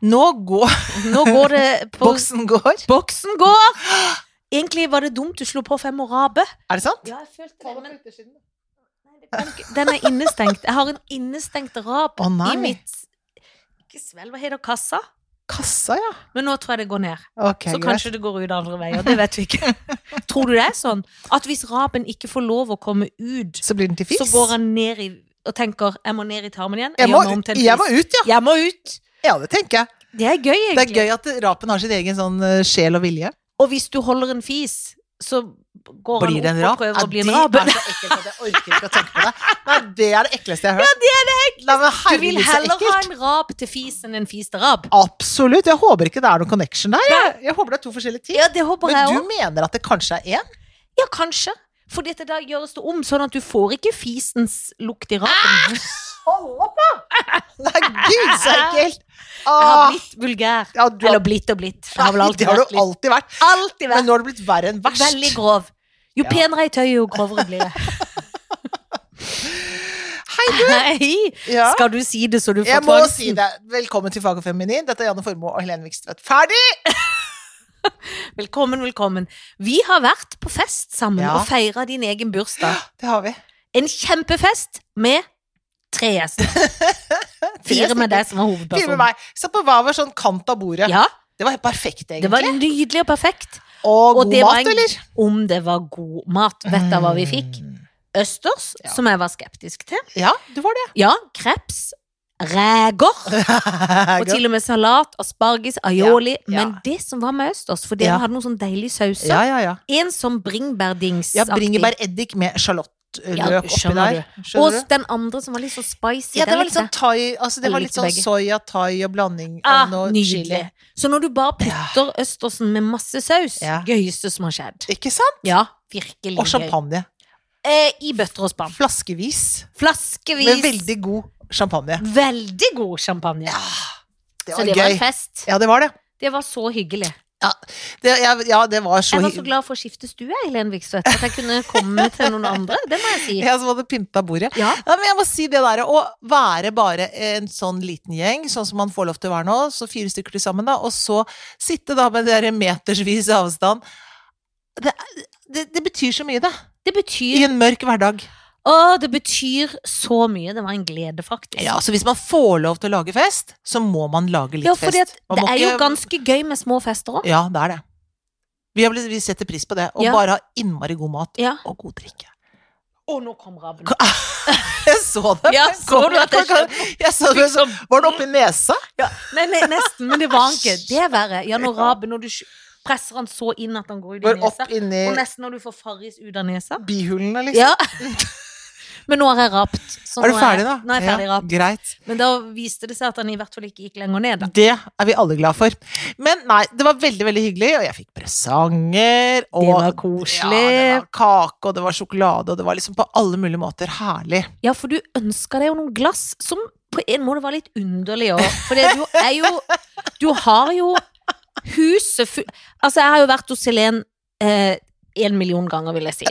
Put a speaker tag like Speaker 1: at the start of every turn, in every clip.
Speaker 1: Nå går
Speaker 2: Nå går det på
Speaker 1: Boksen går.
Speaker 2: Boksen går! Egentlig var det dumt du slo på femorabe.
Speaker 1: Er det sant?
Speaker 2: Ja, jeg følte det, men den er innestengt. Jeg har en innestengt rab
Speaker 1: Å, nei.
Speaker 2: i mitt Ikke svelg, hva heter det? Kassa?
Speaker 1: Kassa, ja.
Speaker 2: Men nå tror jeg det går ned.
Speaker 1: Ok,
Speaker 2: Så
Speaker 1: greit.
Speaker 2: kanskje det går ut andre veier. Det vet vi ikke. Tror du det er sånn? At hvis raben ikke får lov å komme ut,
Speaker 1: Så blir den til fisk?
Speaker 2: så går han ned i og tenker 'jeg må ned i tarmen igjen'.
Speaker 1: jeg
Speaker 2: gjør
Speaker 1: må,
Speaker 2: meg om til en
Speaker 1: jeg må
Speaker 2: fisk».
Speaker 1: ut, ja.
Speaker 2: Jeg må ut!
Speaker 1: Ja, det tenker jeg.
Speaker 2: Det er gøy,
Speaker 1: Det er
Speaker 2: egentlig.
Speaker 1: gøy at rapen har sin egen sånn eh, sjel og vilje.
Speaker 2: Og hvis du holder en fis, så går
Speaker 1: Blir det en
Speaker 2: han
Speaker 1: rap?
Speaker 2: opp og prøver
Speaker 1: Ja,
Speaker 2: å bli en
Speaker 1: det
Speaker 2: rab.
Speaker 1: er så ekkelt at jeg orker ikke å tenke på det. Nei, det er det ekleste jeg har hørt. Ja, det er det ekleste. Nei, men
Speaker 2: Du vil
Speaker 1: herregud, så
Speaker 2: heller ha
Speaker 1: ekkelt.
Speaker 2: en rab til fis enn en fis til rab.
Speaker 1: Absolutt. Jeg håper ikke det er noen connection der. Jeg, jeg håper det er to forskjellige ting.
Speaker 2: Ja, det håper jeg
Speaker 1: Men
Speaker 2: òg.
Speaker 1: du mener at det kanskje er én?
Speaker 2: Ja, kanskje. For dette da gjøres det om, sånn at du får ikke fisens lukt i
Speaker 1: Ah!
Speaker 2: rapen.
Speaker 1: Hold opp, da! Nei, gud, så ekkelt!
Speaker 2: Jeg har
Speaker 1: Ah,
Speaker 2: blitt vulgær.
Speaker 1: ja, du
Speaker 2: Eller
Speaker 1: har,
Speaker 2: blitt og blitt. Jeg har vel
Speaker 1: det
Speaker 2: alltid
Speaker 1: har
Speaker 2: vært
Speaker 1: du
Speaker 2: litt.
Speaker 1: alltid vært.
Speaker 2: Alltid
Speaker 1: Men
Speaker 2: vært
Speaker 1: nå har du blitt verre enn verst.
Speaker 2: veldig grov. Jo
Speaker 1: Ja.
Speaker 2: penere i tøyet, jo grovere blir det.
Speaker 1: Hei, du!
Speaker 2: Hei!
Speaker 1: Ja.
Speaker 2: Skal du si det så du får
Speaker 1: Jeg må
Speaker 2: tvangsen?
Speaker 1: si det. Velkommen til Fag og feminin. Dette er Janne Formoe og Helene Vikstvedt. Ferdig!
Speaker 2: Velkommen, velkommen. Vi har vært på fest sammen
Speaker 1: Ja.
Speaker 2: og feira din egen bursdag.
Speaker 1: Det har vi.
Speaker 2: En kjempefest med tre gjester. Fire med deg
Speaker 1: Fire
Speaker 2: som var
Speaker 1: med
Speaker 2: hovedperson.
Speaker 1: meg. Satt på hver vår sånn kant av bordet.
Speaker 2: Ja,
Speaker 1: Det var helt perfekt,
Speaker 2: det
Speaker 1: egentlig.
Speaker 2: var nydelig og perfekt.
Speaker 1: og
Speaker 2: Og
Speaker 1: god
Speaker 2: det var
Speaker 1: mat,
Speaker 2: en-
Speaker 1: eller?
Speaker 2: Om det var god mat, vet du hva vi fikk?
Speaker 1: Mm.
Speaker 2: Østers,
Speaker 1: Ja.
Speaker 2: som jeg var skeptisk til.
Speaker 1: Ja, du var det.
Speaker 2: Ja, kreps. Reker. Og til og med salat, asparges, aioli.
Speaker 1: Ja, ja.
Speaker 2: Men det som var med østers, for dere
Speaker 1: Ja.
Speaker 2: hadde noen sånn deilige sauser.
Speaker 1: ja, ja, ja.
Speaker 2: En som bringebærdingsaktig.
Speaker 1: ja Bringebæreddik med sjalottløk
Speaker 2: Ja,
Speaker 1: oppi
Speaker 2: skjønner
Speaker 1: der.
Speaker 2: Og
Speaker 1: Skjønner du?
Speaker 2: den andre som var litt sånn spicy.
Speaker 1: Ja, det
Speaker 2: den
Speaker 1: var litt
Speaker 2: likte
Speaker 1: sånn thai altså Det
Speaker 2: Jeg
Speaker 1: var litt
Speaker 2: likte
Speaker 1: sånn
Speaker 2: begge.
Speaker 1: soya, thai og blanding
Speaker 2: jeg. ah,
Speaker 1: av noe
Speaker 2: Nydelig.
Speaker 1: chili.
Speaker 2: Så når du bare putter østersen med masse saus,
Speaker 1: Ja.
Speaker 2: gøyeste som har skjedd.
Speaker 1: Ikke sant?
Speaker 2: Ja, virkelig
Speaker 1: Og champagne.
Speaker 2: gøy. Eh, I bøtter og spann.
Speaker 1: Flaskevis.
Speaker 2: Flaskevis.
Speaker 1: Med veldig god champagne.
Speaker 2: Veldig god champagne.
Speaker 1: Ja, det
Speaker 2: Mm. så
Speaker 1: var
Speaker 2: det var en
Speaker 1: gøy.
Speaker 2: fest.
Speaker 1: Ja, det var det.
Speaker 2: Det var så hyggelig.
Speaker 1: det jeg, ja, det var så
Speaker 2: Jeg var
Speaker 1: hy-
Speaker 2: så glad for å skifte stue, Helene Vikstvedt. At jeg kunne komme til noen andre. Det må jeg si.
Speaker 1: Jeg som hadde pynta bordet.
Speaker 2: Ja.
Speaker 1: Ja, men jeg må si det der, Å være bare en sånn liten gjeng, sånn som man får lov til å være nå, så fire stykker til sammen, da, og så sitte da med dere metersvis avstand det, det, det betyr så mye, det.
Speaker 2: Det
Speaker 1: I
Speaker 2: betyr
Speaker 1: en mørk hverdag.
Speaker 2: Å, det betyr så mye. Det var en glede, faktisk.
Speaker 1: Ja, Så hvis man får lov til å lage fest, så må man lage litt
Speaker 2: Ja, fordi at
Speaker 1: fest. Man
Speaker 2: det
Speaker 1: må
Speaker 2: er jo
Speaker 1: ikke-
Speaker 2: ganske gøy med små fester òg.
Speaker 1: Ja, det er det. Vi, har blitt, vi setter pris på det. Og
Speaker 2: Ja.
Speaker 1: bare ha innmari god mat
Speaker 2: Ja.
Speaker 1: og god drikke.
Speaker 2: Å, nå kom rabben.
Speaker 1: Jeg så det!
Speaker 2: Ja, så du at jeg
Speaker 1: jeg, jeg så det.
Speaker 2: Liksom.
Speaker 1: Var den oppi nesa?
Speaker 2: Nei, nei, nesten, men det var han ikke. Det er verre. Ja, når rabben, når du sj- presser han så inn at han går ut i
Speaker 1: Var
Speaker 2: nesa.
Speaker 1: opp inni
Speaker 2: Og nesten når du får farris ut av nesa.
Speaker 1: bihulene, liksom?
Speaker 2: Ja. Men nå har jeg rapt. så
Speaker 1: Er du
Speaker 2: nå
Speaker 1: ferdig, da?
Speaker 2: jeg- Nå er jeg ferdig
Speaker 1: ja,
Speaker 2: rapt.
Speaker 1: greit.
Speaker 2: Men da viste det seg at han i hvert fall ikke gikk lenger ned, da.
Speaker 1: Det er vi alle glad for. Men nei, det var veldig veldig hyggelig, og jeg fikk presanger. Og,
Speaker 2: Det var koselig.
Speaker 1: Ja, det var kake, og det var sjokolade, og det var liksom på alle mulige måter herlig.
Speaker 2: Ja, for du ønska deg jo noen glass som på en måte var litt underlig òg. For det- du er jo Du har jo huset full Altså, jeg har jo vært hos Helen eh, en million ganger, vil jeg si.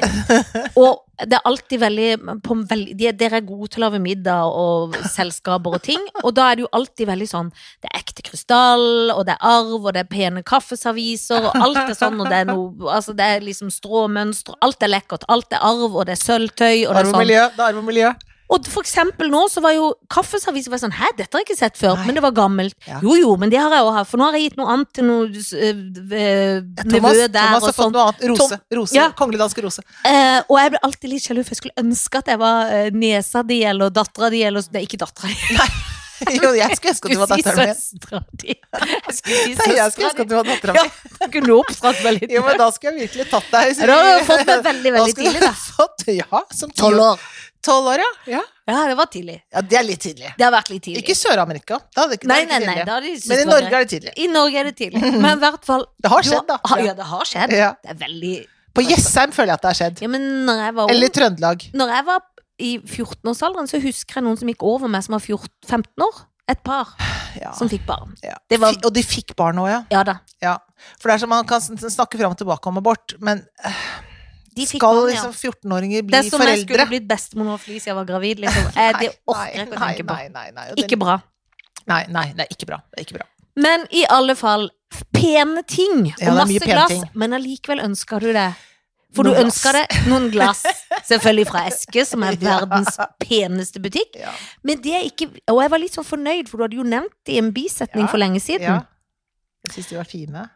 Speaker 2: Og det er alltid veldig, på, en veldig de- Dere er gode til å lage middag og selskaper og ting. Og da er det jo alltid veldig sånn Det er ekte krystall, og det er arv, og det er pene kaffeserviser, og alt er sånn, og det er noe Altså, det er liksom stråmønster, alt er lekkert, alt er arv, og det er sølvtøy, og det er
Speaker 1: Arv og
Speaker 2: sånn.
Speaker 1: miljø. Det er arv og miljø.
Speaker 2: Og for eksempel nå så var jo kaffeserviser var sånn Hæ, dette har jeg ikke sett før,
Speaker 1: Nei.
Speaker 2: men det var gammelt.
Speaker 1: Ja.
Speaker 2: Jo jo, men det har jeg òg hatt, for nå har jeg gitt noe annet til noe øh, nevø
Speaker 1: Thomas,
Speaker 2: der
Speaker 1: Thomas har
Speaker 2: og
Speaker 1: fått
Speaker 2: sånn.
Speaker 1: noe annet. Rose. rose
Speaker 2: Ja.
Speaker 1: Kongelig dansk rose.
Speaker 2: Eh, og jeg ble alltid litt sjalu, for jeg skulle ønske at jeg var eh, nesa di eller dattera di eller Nei, ikke dattera di.
Speaker 1: Jo, jeg skulle ønske at du var
Speaker 2: si
Speaker 1: datteren min.
Speaker 2: søstera di. Jeg skulle si
Speaker 1: Nei, jeg skulle
Speaker 2: søstera
Speaker 1: ønske at
Speaker 2: di.
Speaker 1: du var datteren
Speaker 2: Ja,
Speaker 1: min.
Speaker 2: da kunne du oppdratt meg litt.
Speaker 1: Jo, men da skulle jeg virkelig tatt deg.
Speaker 2: Ja, da hadde du fått meg veldig, veldig
Speaker 1: skulle
Speaker 2: tidlig,
Speaker 1: du
Speaker 2: da.
Speaker 1: Fått, ja, som ti-
Speaker 2: Tolv år.
Speaker 1: Tolv år, ja. ja.
Speaker 2: Ja, det var tidlig.
Speaker 1: Ja, det er litt tidlig.
Speaker 2: Det har vært litt tidlig.
Speaker 1: Ikke Sør-Amerika. Da er det ikke- da
Speaker 2: nei,
Speaker 1: er det
Speaker 2: nei,
Speaker 1: ikke
Speaker 2: nei,
Speaker 1: tidlig.
Speaker 2: da har de syntes
Speaker 1: Men i
Speaker 2: det var
Speaker 1: Norge er det tidlig.
Speaker 2: I Norge er det tidlig. Men i hvert fall
Speaker 1: Det har
Speaker 2: Du
Speaker 1: skjedd, da.
Speaker 2: har- Ja, det har skjedd.
Speaker 1: Ja.
Speaker 2: Det er veldig
Speaker 1: På Jessheim føler jeg at det har skjedd.
Speaker 2: Ja, men når jeg var ung
Speaker 1: Eller i Trøndelag.
Speaker 2: Når jeg var i 14-årsalderen, så husker jeg noen som gikk over meg, som var 14, 15 år. Et par
Speaker 1: Ja.
Speaker 2: som fikk barn.
Speaker 1: Ja.
Speaker 2: Det var-
Speaker 1: Fi- Og de fikk barn òg, ja.
Speaker 2: Ja da.
Speaker 1: ja. For det er som man kan sn- snakke fram og tilbake om abort, men
Speaker 2: De fikk
Speaker 1: skal
Speaker 2: barn, ja.
Speaker 1: liksom 14-åringer bli
Speaker 2: det er som om jeg skulle
Speaker 1: foreldre?
Speaker 2: blitt bestemor nå fordi jeg var gravid. Liksom. Eh, det
Speaker 1: Nei,
Speaker 2: orker jeg ikke å
Speaker 1: nei,
Speaker 2: tenke på.
Speaker 1: Nei, nei, nei. Og den-
Speaker 2: Ikke bra.
Speaker 1: Nei, nei, det er ikke bra. Det er ikke bra.
Speaker 2: Men i alle fall, f- pene ting
Speaker 1: Ja,
Speaker 2: og
Speaker 1: det er mye
Speaker 2: masse
Speaker 1: pene
Speaker 2: glass,
Speaker 1: ting.
Speaker 2: men allikevel ønsker du det. For
Speaker 1: Noen
Speaker 2: du
Speaker 1: glass.
Speaker 2: ønsker det noen glass, selvfølgelig fra Eske, som er
Speaker 1: Ja.
Speaker 2: verdens peneste butikk.
Speaker 1: Ja.
Speaker 2: Men det er ikke, og jeg var litt sånn fornøyd, for du hadde jo nevnt det i en bisetning
Speaker 1: Ja.
Speaker 2: for lenge siden.
Speaker 1: ja. Jeg syns de var fine.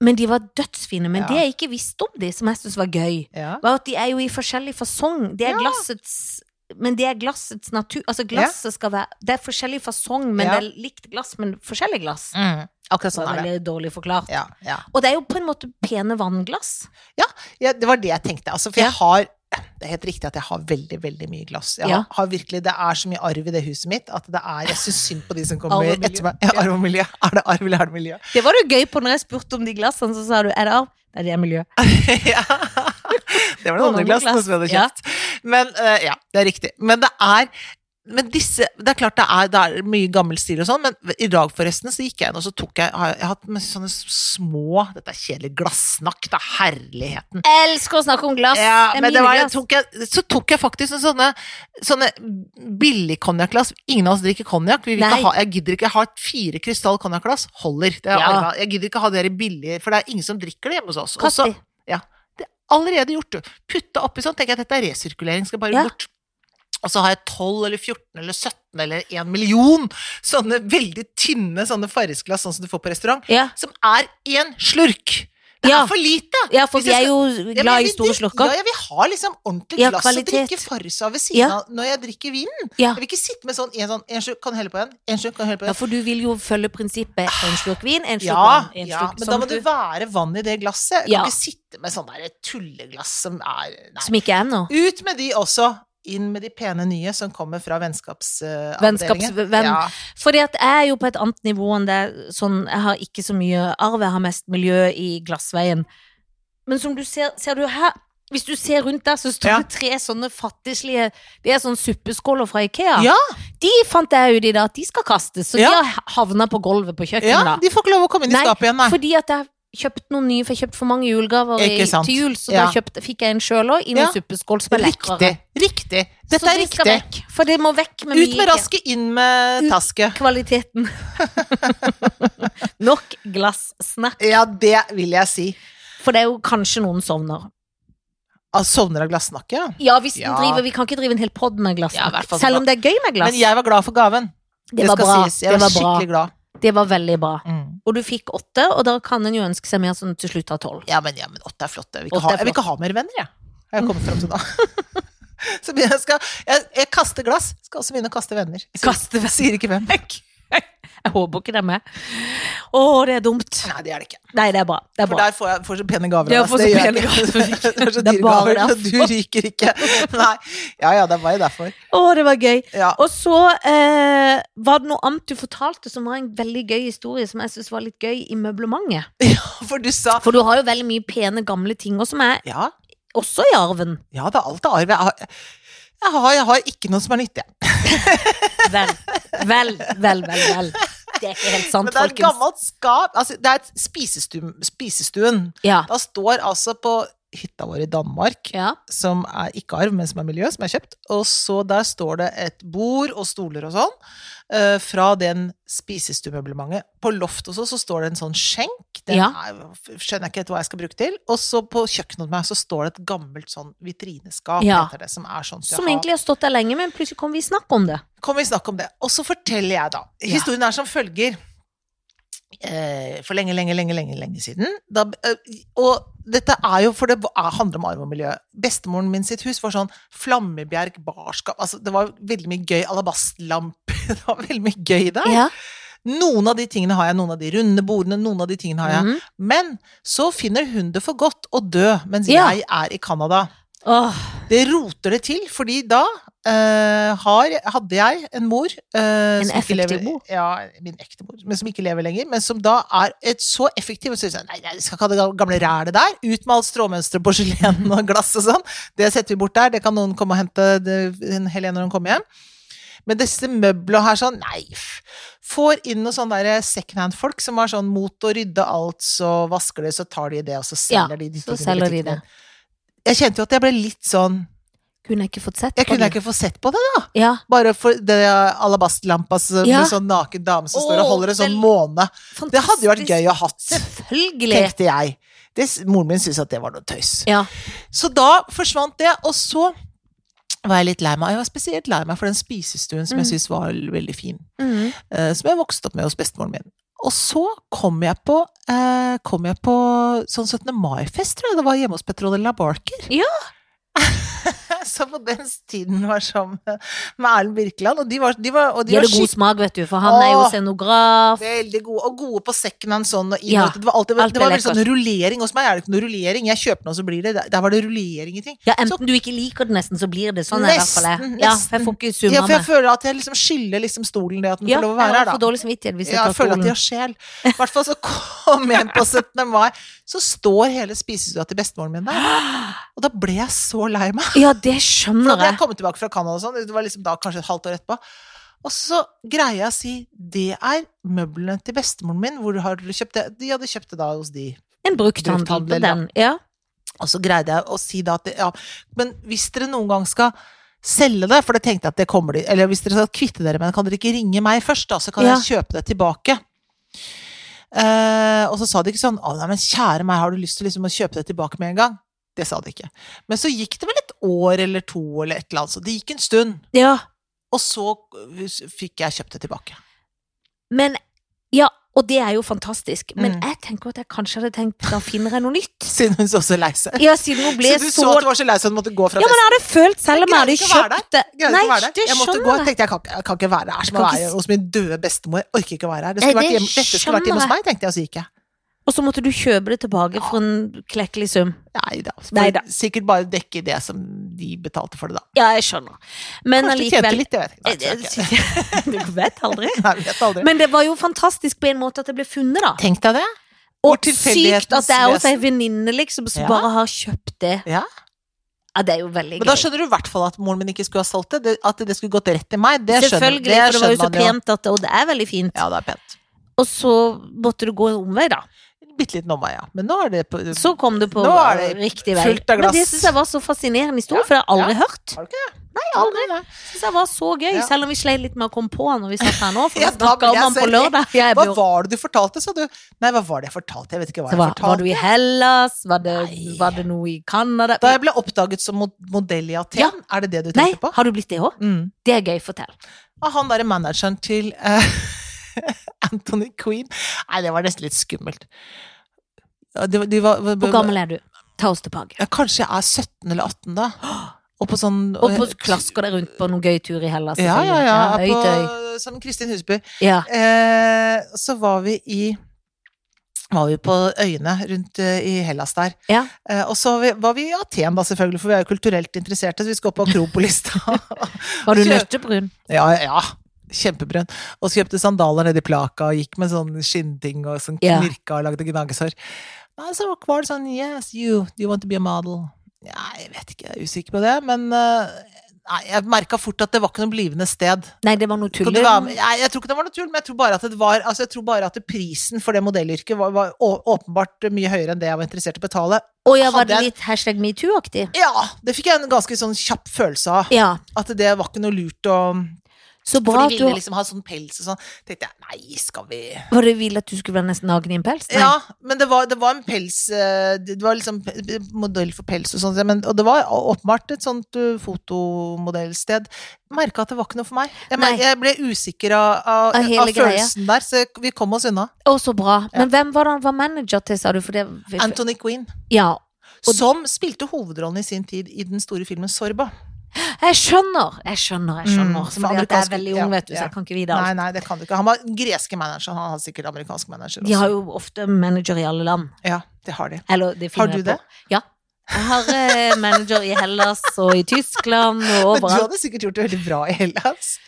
Speaker 2: Men de var dødsfine. Men
Speaker 1: Ja.
Speaker 2: det jeg ikke visste om de, som jeg syntes var gøy,
Speaker 1: Ja.
Speaker 2: var at de er jo i forskjellig fasong. Det er
Speaker 1: Ja.
Speaker 2: glassets men det er glassets natur Altså, glasset skal være Det er forskjellig fasong, men
Speaker 1: Ja.
Speaker 2: det er likt glass, men forskjellig glass.
Speaker 1: Akkurat
Speaker 2: Mm. Det
Speaker 1: sånn
Speaker 2: var
Speaker 1: er det.
Speaker 2: veldig dårlig forklart.
Speaker 1: Ja, ja.
Speaker 2: Og det er jo på en måte pene vannglass.
Speaker 1: Ja, det var det jeg tenkte. Altså, for
Speaker 2: Ja.
Speaker 1: jeg har Det er helt riktig at jeg har veldig, veldig mye glass. Jeg
Speaker 2: Ja.
Speaker 1: har, har virkelig, Det er så mye arv i det huset mitt at det er, jeg syns synd på de som kommer
Speaker 2: Arv og miljø.
Speaker 1: etter meg. Ja, arv og miljø. Er det arv eller er det miljø?
Speaker 2: Det var det jo gøy på når jeg spurte om de glassene, så sa du er det arv? Nei, det er miljø.
Speaker 1: ja. Det var det andre glass som jeg hadde
Speaker 2: Ja.
Speaker 1: kjøpt. Men eh, ja, det er riktig. Men det er men disse, Det er klart det er, det er mye gammel stil og sånn, men i dag forresten så gikk jeg inn og så tok jeg har Jeg har hatt masse sånne små Dette er kjedelig glassnakk, da. Herligheten.
Speaker 2: Jeg elsker å snakke om glass!
Speaker 1: Ja,
Speaker 2: det er
Speaker 1: men det
Speaker 2: mine
Speaker 1: var, jeg
Speaker 2: glass.
Speaker 1: tok jeg, så tok jeg faktisk en sånne, sånne billig konjakkglass. Ingen av oss drikker konjakk. Vi vil
Speaker 2: Nei.
Speaker 1: ikke ha- Jeg gidder ikke ha et fire krystall konjakkglass. Holder. Det er
Speaker 2: Ja.
Speaker 1: arvet. Jeg gidder ikke ha dere billige, for det er ingen som drikker det hjemme hos oss. Og så
Speaker 2: Katti.
Speaker 1: allerede gjort, du. Putta oppi sånn, tenker jeg dette er resirkulering, skal bare
Speaker 2: Ja.
Speaker 1: bort. Og så har jeg 12 eller 14 eller 17 eller 1 million sånne veldig tynne sånne farrisglass, sånn som du får på restaurant,
Speaker 2: Ja.
Speaker 1: som er én slurk. Det
Speaker 2: Ja.
Speaker 1: er for lite!
Speaker 2: ja, for
Speaker 1: Hvis
Speaker 2: vi
Speaker 1: jeg
Speaker 2: er jo
Speaker 1: Ja, men jeg
Speaker 2: glad i
Speaker 1: vil
Speaker 2: store
Speaker 1: drikke-
Speaker 2: slurker.
Speaker 1: Ja, jeg vil ha liksom ordentlig
Speaker 2: Ja,
Speaker 1: glass
Speaker 2: kvalitet.
Speaker 1: og drikke farris av ved siden
Speaker 2: Ja.
Speaker 1: av når jeg drikker vin. Jeg
Speaker 2: Ja.
Speaker 1: vil ikke sitte med sånn en sånn En slurk, kan du helle på en? En slurk, kan du helle på
Speaker 2: Ja,
Speaker 1: en?
Speaker 2: for du vil jo følge prinsippet en slurk vin, en slurk
Speaker 1: Ja,
Speaker 2: vann, en
Speaker 1: ja,
Speaker 2: slurk
Speaker 1: men
Speaker 2: sånn
Speaker 1: da må
Speaker 2: at
Speaker 1: det være vann i det glasset. Jeg
Speaker 2: Ja.
Speaker 1: kan ikke sitte med sånn der tulleglass som er Nei.
Speaker 2: Som ikke er noe.
Speaker 1: Ut med de også. Inn med de pene nye som kommer fra vennskapsavdelingen.
Speaker 2: Vennskapsvenn.
Speaker 1: Ja.
Speaker 2: Fordi at jeg er jo på et annet nivå enn det sånn Jeg har ikke så mye arv, jeg har mest miljø i glassveien. Men som du ser, ser du her Hvis du ser rundt der, så står
Speaker 1: Ja.
Speaker 2: det tre sånne fattigslige Det er sånne suppeskåler fra Ikea.
Speaker 1: Ja.
Speaker 2: De fant jeg ut i dag at de skal kastes, så
Speaker 1: Ja.
Speaker 2: de har havna på gulvet på kjøkkenet.
Speaker 1: ja,
Speaker 2: da.
Speaker 1: de får ikke lov å komme inn i
Speaker 2: Nei,
Speaker 1: skapet igjen, nei.
Speaker 2: Fordi at jeg har kjøpt noen nye, for jeg kjøpte for mange julegaver i,
Speaker 1: Ikke sant.
Speaker 2: til jul, så
Speaker 1: Ja.
Speaker 2: da kjøpte, fikk jeg en sjøl òg, i noen
Speaker 1: Ja.
Speaker 2: suppeskål som er lekrere.
Speaker 1: Riktig. Riktig. Dette
Speaker 2: så
Speaker 1: er
Speaker 2: de skal
Speaker 1: riktig.
Speaker 2: vekk, for det må vekk med
Speaker 1: Ut
Speaker 2: mye
Speaker 1: med rasket, inn med
Speaker 2: Ut.
Speaker 1: tasket.
Speaker 2: kvaliteten. Nok glassnakk.
Speaker 1: Ja, det vil jeg si.
Speaker 2: For det er jo kanskje noen sovner.
Speaker 1: Ah, Sovner av glassnakket, ja.
Speaker 2: Ja, hvis den
Speaker 1: Ja.
Speaker 2: driver, Vi kan ikke drive en hel pod med glass.
Speaker 1: Ja, i hvert fall-
Speaker 2: Selv om det er gøy med glass.
Speaker 1: Men jeg var glad for gaven.
Speaker 2: det, var
Speaker 1: skal
Speaker 2: bra.
Speaker 1: sies. Jeg
Speaker 2: det
Speaker 1: var,
Speaker 2: var bra.
Speaker 1: skikkelig glad.
Speaker 2: Det var veldig bra.
Speaker 1: Mm.
Speaker 2: Og du fikk åtte, og da kan en jo ønske seg mer sånn til slutt av tolv.
Speaker 1: Ja, men, ja, men åtte er flott. Jeg vil ikke,
Speaker 2: Åtte
Speaker 1: ha,
Speaker 2: er
Speaker 1: jeg vil ikke ha mer venner, jeg. Har jeg kommet fram til nå. Så begynner jeg, skal, jeg, jeg kaster glass. Skal også begynne å kaste venner. Jeg sier-
Speaker 2: Kaste vekk.
Speaker 1: Sier ikke hvem.
Speaker 2: Jeg håper ikke det er med. Å, det er dumt.
Speaker 1: Nei, det er det ikke.
Speaker 2: Nei, det er bra. Det er
Speaker 1: For
Speaker 2: bra.
Speaker 1: der får jeg får så pene gaver.
Speaker 2: Ja,
Speaker 1: av oss.
Speaker 2: får så
Speaker 1: Det gjør jeg
Speaker 2: pene
Speaker 1: ikke.
Speaker 2: gaver.
Speaker 1: Det er så
Speaker 2: Det er
Speaker 1: dyre
Speaker 2: bare
Speaker 1: gaver, og du ryker ikke. Nei. Ja ja, det er bare derfor.
Speaker 2: Å, det var gøy.
Speaker 1: Ja.
Speaker 2: Og så eh, var det noe annet du fortalte som var en veldig gøy historie, som jeg syns var litt gøy i møblementet.
Speaker 1: For du sa
Speaker 2: For du har jo veldig mye pene, gamle ting også, som er
Speaker 1: Ja,
Speaker 2: også i arven.
Speaker 1: ja det er alt av arv. Jeg har, jeg har, jeg har ikke noe som er nyttig.
Speaker 2: Vel, vel, vel, vel. vel. Det er ikke helt sant,
Speaker 1: Men det er et
Speaker 2: folkens.
Speaker 1: gammelt skap. Altså, det er et spisestu- spisestuen.
Speaker 2: Ja.
Speaker 1: Da står altså på hytta vår i Danmark,
Speaker 2: ja.
Speaker 1: som er ikke arv, men som er miljø, som er kjøpt. Og så der står det et bord og stoler og sånn, eh, fra den spisestuemøblementet. På loftet også så står det en sånn skjenk, den
Speaker 2: Ja.
Speaker 1: er, skjønner jeg ikke helt hva jeg skal bruke til. Og så på kjøkkenet hos meg så står det et gammelt sånn vitrineskap,
Speaker 2: Ja.
Speaker 1: heter det, som er sånn til å
Speaker 2: Som
Speaker 1: ha-
Speaker 2: egentlig har stått der lenge, men plutselig kom vi i snakk om det.
Speaker 1: Kommer vi snakke om det. Og så forteller jeg, da.
Speaker 2: Ja.
Speaker 1: Historien er som følger. Eh, For lenge, lenge, lenge, lenge lenge siden. Da, eh, og dette er jo, for det er- handler om arv og miljø. Bestemoren min sitt hus var sånn Flammebjerg barskap. Altså, det var veldig mye gøy. Alabastlampe. Det var veldig mye gøy der.
Speaker 2: Ja.
Speaker 1: Noen av de tingene har jeg. Noen av de runde bordene. Noen av de tingene har jeg.
Speaker 2: Mhm.
Speaker 1: Men så finner hun det for godt å dø mens
Speaker 2: Ja.
Speaker 1: jeg er i Canada.
Speaker 2: Åh,
Speaker 1: Det roter det til, fordi da eh, har, hadde jeg en mor eh,
Speaker 2: En
Speaker 1: som ikke
Speaker 2: effektiv
Speaker 1: lever-
Speaker 2: mor.
Speaker 1: Ja, min ekte mor, men som ikke lever lenger. Men som da er et så effektiv og så sier sånn, Nei, nei, vi skal ikke ha det gamle rælet der. Ut med alt stråmønster og porselen og glass og sånn. Det setter vi bort der. Det kan noen komme og hente det- Helene når hun kommer hjem. Men disse møblene her sånn, nei f- Får inn noen sånne der secondhand-folk som er sånn mot å rydde alt, så vasker de, så tar de det, og så
Speaker 2: Ja,
Speaker 1: selger de de
Speaker 2: så
Speaker 1: tingene i
Speaker 2: selger de
Speaker 1: butikken.
Speaker 2: det.
Speaker 1: Jeg kjente jo at jeg ble litt sånn
Speaker 2: Hun har ikke fått sett
Speaker 1: Jeg
Speaker 2: på
Speaker 1: kunne
Speaker 2: det.
Speaker 1: ikke få sett på det, da.
Speaker 2: Ja,
Speaker 1: Bare for det alabastlampa som-
Speaker 2: Ja.
Speaker 1: med sånn naken dame som står og
Speaker 2: Åh,
Speaker 1: holder en sånn
Speaker 2: vel-
Speaker 1: måne.
Speaker 2: fantastisk.
Speaker 1: Det hadde jo vært gøy å ha hatt,
Speaker 2: Selvfølgelig.
Speaker 1: tenkte jeg. Det, moren min syntes at det var noe tøys.
Speaker 2: Ja.
Speaker 1: Så da forsvant det, og så var jeg litt lei meg. Jeg var spesielt lei meg for den spisestuen som jeg
Speaker 2: Mm.
Speaker 1: syntes var veldig fin.
Speaker 2: Mm.
Speaker 1: eh, Som jeg vokste opp med hos bestemoren min. Og så kom jeg på, eh, kom jeg på sånn 17. mai-fest, tror jeg det var, hjemme hos Petronella Barker.
Speaker 2: Ja.
Speaker 1: Som på den tiden var sammen med Erlend Birkeland, og de var, de var, og de
Speaker 2: De
Speaker 1: var
Speaker 2: hadde god
Speaker 1: skikkelig
Speaker 2: smak, vet du, for han er jo
Speaker 1: Åh.
Speaker 2: scenograf.
Speaker 1: Veldig gode, og gode på second hand sånn. Og
Speaker 2: Ja,
Speaker 1: innholdet. det var, alltid,
Speaker 2: alt
Speaker 1: det var
Speaker 2: ble
Speaker 1: veldig sånn rullering. Hos meg er det ikke noe rullering. Jeg kjøper noe, så blir det Der var det rullering i ting.
Speaker 2: Ja, enten du ikke liker det nesten, så blir det sånn. er det i hvert fall jeg.
Speaker 1: Nesten,
Speaker 2: Ja,
Speaker 1: nesten.
Speaker 2: for jeg får ikke
Speaker 1: Ja,
Speaker 2: summa
Speaker 1: for jeg føler at jeg liksom skylder liksom stolen det at den
Speaker 2: Ja,
Speaker 1: får lov å
Speaker 2: jeg
Speaker 1: være
Speaker 2: har
Speaker 1: her,
Speaker 2: for
Speaker 1: da.
Speaker 2: dårlig samvittighet hvis jeg
Speaker 1: Ja, jeg
Speaker 2: tar
Speaker 1: føler at de
Speaker 2: stolen.
Speaker 1: har sjel. I hvert fall så kom jeg på 17. mai, så står hele spisestua til bestemoren min der. Og da ble jeg så lei meg.
Speaker 2: Ja, det
Speaker 1: For da
Speaker 2: skjønner
Speaker 1: hadde jeg
Speaker 2: jeg.
Speaker 1: kommet tilbake fra Canada og sånn, det var liksom da kanskje et halvt år etterpå. Og så greier jeg å si det er møblene til bestemoren min, hvor har du kjøpt det? De hadde kjøpt det da hos de.
Speaker 2: En brukthandel på
Speaker 1: Brukthandel, ja.
Speaker 2: den. Ja.
Speaker 1: Og så greide jeg å si da at det, ja, men hvis dere noen gang skal selge det, for det tenkte jeg at det kommer de, eller hvis dere skal kvitte dere med det, kan dere ikke ringe meg først, da, så kan
Speaker 2: Ja.
Speaker 1: jeg kjøpe det tilbake. Eh, og så sa de ikke sånn å nei, men kjære meg, har du lyst til liksom å kjøpe det tilbake med en gang? Det sa de ikke. Men så gikk det vel et år eller to eller et eller annet, så det gikk en stund.
Speaker 2: ja.
Speaker 1: Og så eh, fikk jeg kjøpt det tilbake.
Speaker 2: Men Ja, og det er jo fantastisk. Men
Speaker 1: Mm.
Speaker 2: jeg tenker at jeg kanskje hadde tenkt da finner jeg noe nytt.
Speaker 1: Siden hun så så lei seg.
Speaker 2: Ja, siden hun ble
Speaker 1: Så du så at du var så lei seg at du måtte gå fra
Speaker 2: Ja, men jeg hadde følt, selv om jeg
Speaker 1: Jeg greide ikke
Speaker 2: hadde
Speaker 1: å være
Speaker 2: kjøpt det
Speaker 1: Jeg
Speaker 2: Nei,
Speaker 1: Nei, være der.
Speaker 2: det
Speaker 1: Jeg måtte gå.
Speaker 2: skjønner
Speaker 1: Jeg
Speaker 2: jeg.
Speaker 1: tenkte jeg kan, ikke- jeg kan ikke være her som å
Speaker 2: Jeg kan ikke
Speaker 1: være
Speaker 2: s-
Speaker 1: hos min døde bestemor. Jeg orker ikke å være her. Det skulle
Speaker 2: Nei,
Speaker 1: vært
Speaker 2: det
Speaker 1: hjemme, dette skulle vært hjemme hos
Speaker 2: skjønner
Speaker 1: meg, tenkte jeg, og så gikk jeg.
Speaker 2: Og så måtte du kjøpe det tilbake for en klekkelig sum.
Speaker 1: Nei da. for
Speaker 2: Neida.
Speaker 1: Sikkert bare dekke det som de betalte for det, da.
Speaker 2: Ja, jeg skjønner. Men
Speaker 1: Kanskje de tjente
Speaker 2: allikevel
Speaker 1: litt, jeg vet ikke. Nei,
Speaker 2: Eh,
Speaker 1: det tror jeg ikke.
Speaker 2: eh, Du vet aldri.
Speaker 1: Nei, jeg vet aldri.
Speaker 2: Men det var jo fantastisk på en måte at det ble funnet, da.
Speaker 1: Tenk deg det. hvor
Speaker 2: Og sykt at det er også ei venninne liksom, som
Speaker 1: Ja.
Speaker 2: bare har kjøpt det.
Speaker 1: Ja.
Speaker 2: Ja, det er jo veldig
Speaker 1: Men da
Speaker 2: gøy.
Speaker 1: skjønner du i hvert fall at moren min ikke skulle ha solgt det. det at det skulle gått rett til meg. Det skjønner,
Speaker 2: Selvfølgelig,
Speaker 1: det
Speaker 2: for det var jo så
Speaker 1: skjønner man jo.
Speaker 2: pent at det, og det er veldig fint.
Speaker 1: Ja, det er pent.
Speaker 2: Og så måtte du gå en omvei, da.
Speaker 1: Bitte liten omvei, ja. Men nå er det på
Speaker 2: Så kom du på
Speaker 1: Nå er det
Speaker 2: riktig vei.
Speaker 1: fullt av
Speaker 2: Men det
Speaker 1: glass.
Speaker 2: syns jeg var så fascinerende historie, for det har jeg aldri hørt.
Speaker 1: Har du
Speaker 2: ikke det? Nei, aldri.
Speaker 1: Nei, nei.
Speaker 2: Syns jeg var så gøy,
Speaker 1: Ja.
Speaker 2: selv om vi sleit litt med å komme på han når vi satt her nå, for
Speaker 1: Ja,
Speaker 2: vi
Speaker 1: da
Speaker 2: snakka
Speaker 1: blir
Speaker 2: om
Speaker 1: jeg
Speaker 2: han på
Speaker 1: så-
Speaker 2: lørdag. Jeg
Speaker 1: Hva
Speaker 2: ble jo-
Speaker 1: var det du fortalte, sa du? Nei, hva var det jeg fortalte? Jeg vet ikke hva
Speaker 2: Så
Speaker 1: jeg
Speaker 2: var,
Speaker 1: fortalte.
Speaker 2: var du i Hellas? Var det,
Speaker 1: Nei.
Speaker 2: var det noe i Canada?
Speaker 1: Da jeg ble oppdaget som mod- modell i Aten,
Speaker 2: Ja.
Speaker 1: er det det du
Speaker 2: Nei,
Speaker 1: tenker på?
Speaker 2: har du blitt det òg?
Speaker 1: Mm.
Speaker 2: Det er gøy. Fortell.
Speaker 1: Og han derre manageren til eh, Anthony Queen Nei, det var nesten litt skummelt. Ja, De, de var,
Speaker 2: Hvor gammel er du? Ta oss tilbake.
Speaker 1: Ja, kanskje jeg er 17 eller 18 da. Og på sånn
Speaker 2: Og på klasker deg rundt på noen gøy tur i Hellas.
Speaker 1: Ja, ja, ja.
Speaker 2: selvfølgelig.
Speaker 1: på,
Speaker 2: Ja, høyt,
Speaker 1: Som Kristin Husby.
Speaker 2: høy. ja.
Speaker 1: Eh, så var vi i var vi på øyene rundt eh, i Hellas der.
Speaker 2: Ja.
Speaker 1: Eh, og så var vi, var vi i Aten, da, selvfølgelig, for vi er jo kulturelt interesserte, så vi skal på Akropolis. da.
Speaker 2: Var du
Speaker 1: Kjø-
Speaker 2: nøttebrun?
Speaker 1: ja, ja, ja. Kjempebrun. Og så kjøpte sandaler nedi plaka og gikk med sånn skinnting og sånn
Speaker 2: Ja.
Speaker 1: knirka og lagde gnagesår. Nei, Så var det sånn Yes, you. Do you want to be a model? Nei, jeg vet ikke. Jeg er usikker på det. Men eh, nei, jeg merka fort at det var ikke noe blivende sted.
Speaker 2: Nei, det var noe
Speaker 1: Kan
Speaker 2: tull.
Speaker 1: du være med? Nei, jeg tror ikke det var noe tull, men jeg tror bare at, det var, altså jeg tror bare at det prisen for det modellyrket var, var å- åpenbart mye høyere enn det jeg var interessert i å betale.
Speaker 2: Å ja, var det
Speaker 1: Hadde jeg-
Speaker 2: litt hashtag metoo-aktig?
Speaker 1: Ja, det fikk jeg en ganske sånn kjapp følelse av.
Speaker 2: Ja.
Speaker 1: At det var ikke noe lurt å
Speaker 2: Så
Speaker 1: For
Speaker 2: bra
Speaker 1: de
Speaker 2: at
Speaker 1: ville
Speaker 2: du
Speaker 1: liksom ha sånn pels og sånn. Tenkte jeg, nei, skal vi
Speaker 2: Var det ville at du skulle være nesten naken i en pels? Nei.
Speaker 1: Ja, men det var, det var en pels eh, Det det var liksom p- modell for pels og sånn. men- Og det var åpenbart et sånt eh, fotomodellsted. Merka at det var ikke noe for meg. Jeg, mer-
Speaker 2: Nei.
Speaker 1: jeg ble usikker av, av,
Speaker 2: Av
Speaker 1: av,
Speaker 2: hele greia.
Speaker 1: følelsen der, så vi kom oss unna.
Speaker 2: Å, så bra. Men hvem var det han var manager til, sa du? For det
Speaker 1: Anthony Quinn,
Speaker 2: Ja. Og-
Speaker 1: som spilte hovedrollen i sin tid i den store filmen Sorba.
Speaker 2: Jeg skjønner, jeg skjønner, jeg skjønner.
Speaker 1: Mm,
Speaker 2: Fordi
Speaker 1: for
Speaker 2: at jeg er
Speaker 1: amerikanske-
Speaker 2: veldig
Speaker 1: ja,
Speaker 2: ung, vet du,
Speaker 1: ja.
Speaker 2: så jeg kan ikke vite alt.
Speaker 1: Nei, nei, det kan du ikke. Han var den greske manageren. Han hadde sikkert amerikansk manager også.
Speaker 2: De har jo ofte manager i alle land.
Speaker 1: Ja, det har de.
Speaker 2: Eller det
Speaker 1: altså- Har
Speaker 2: finner
Speaker 1: du
Speaker 2: jeg på.
Speaker 1: det?
Speaker 2: Ja. Jeg har eh, manager i Hellas og i Tyskland
Speaker 1: Men
Speaker 2: og
Speaker 1: du
Speaker 2: overalt.
Speaker 1: hadde sikkert gjort det veldig bra i Hellas.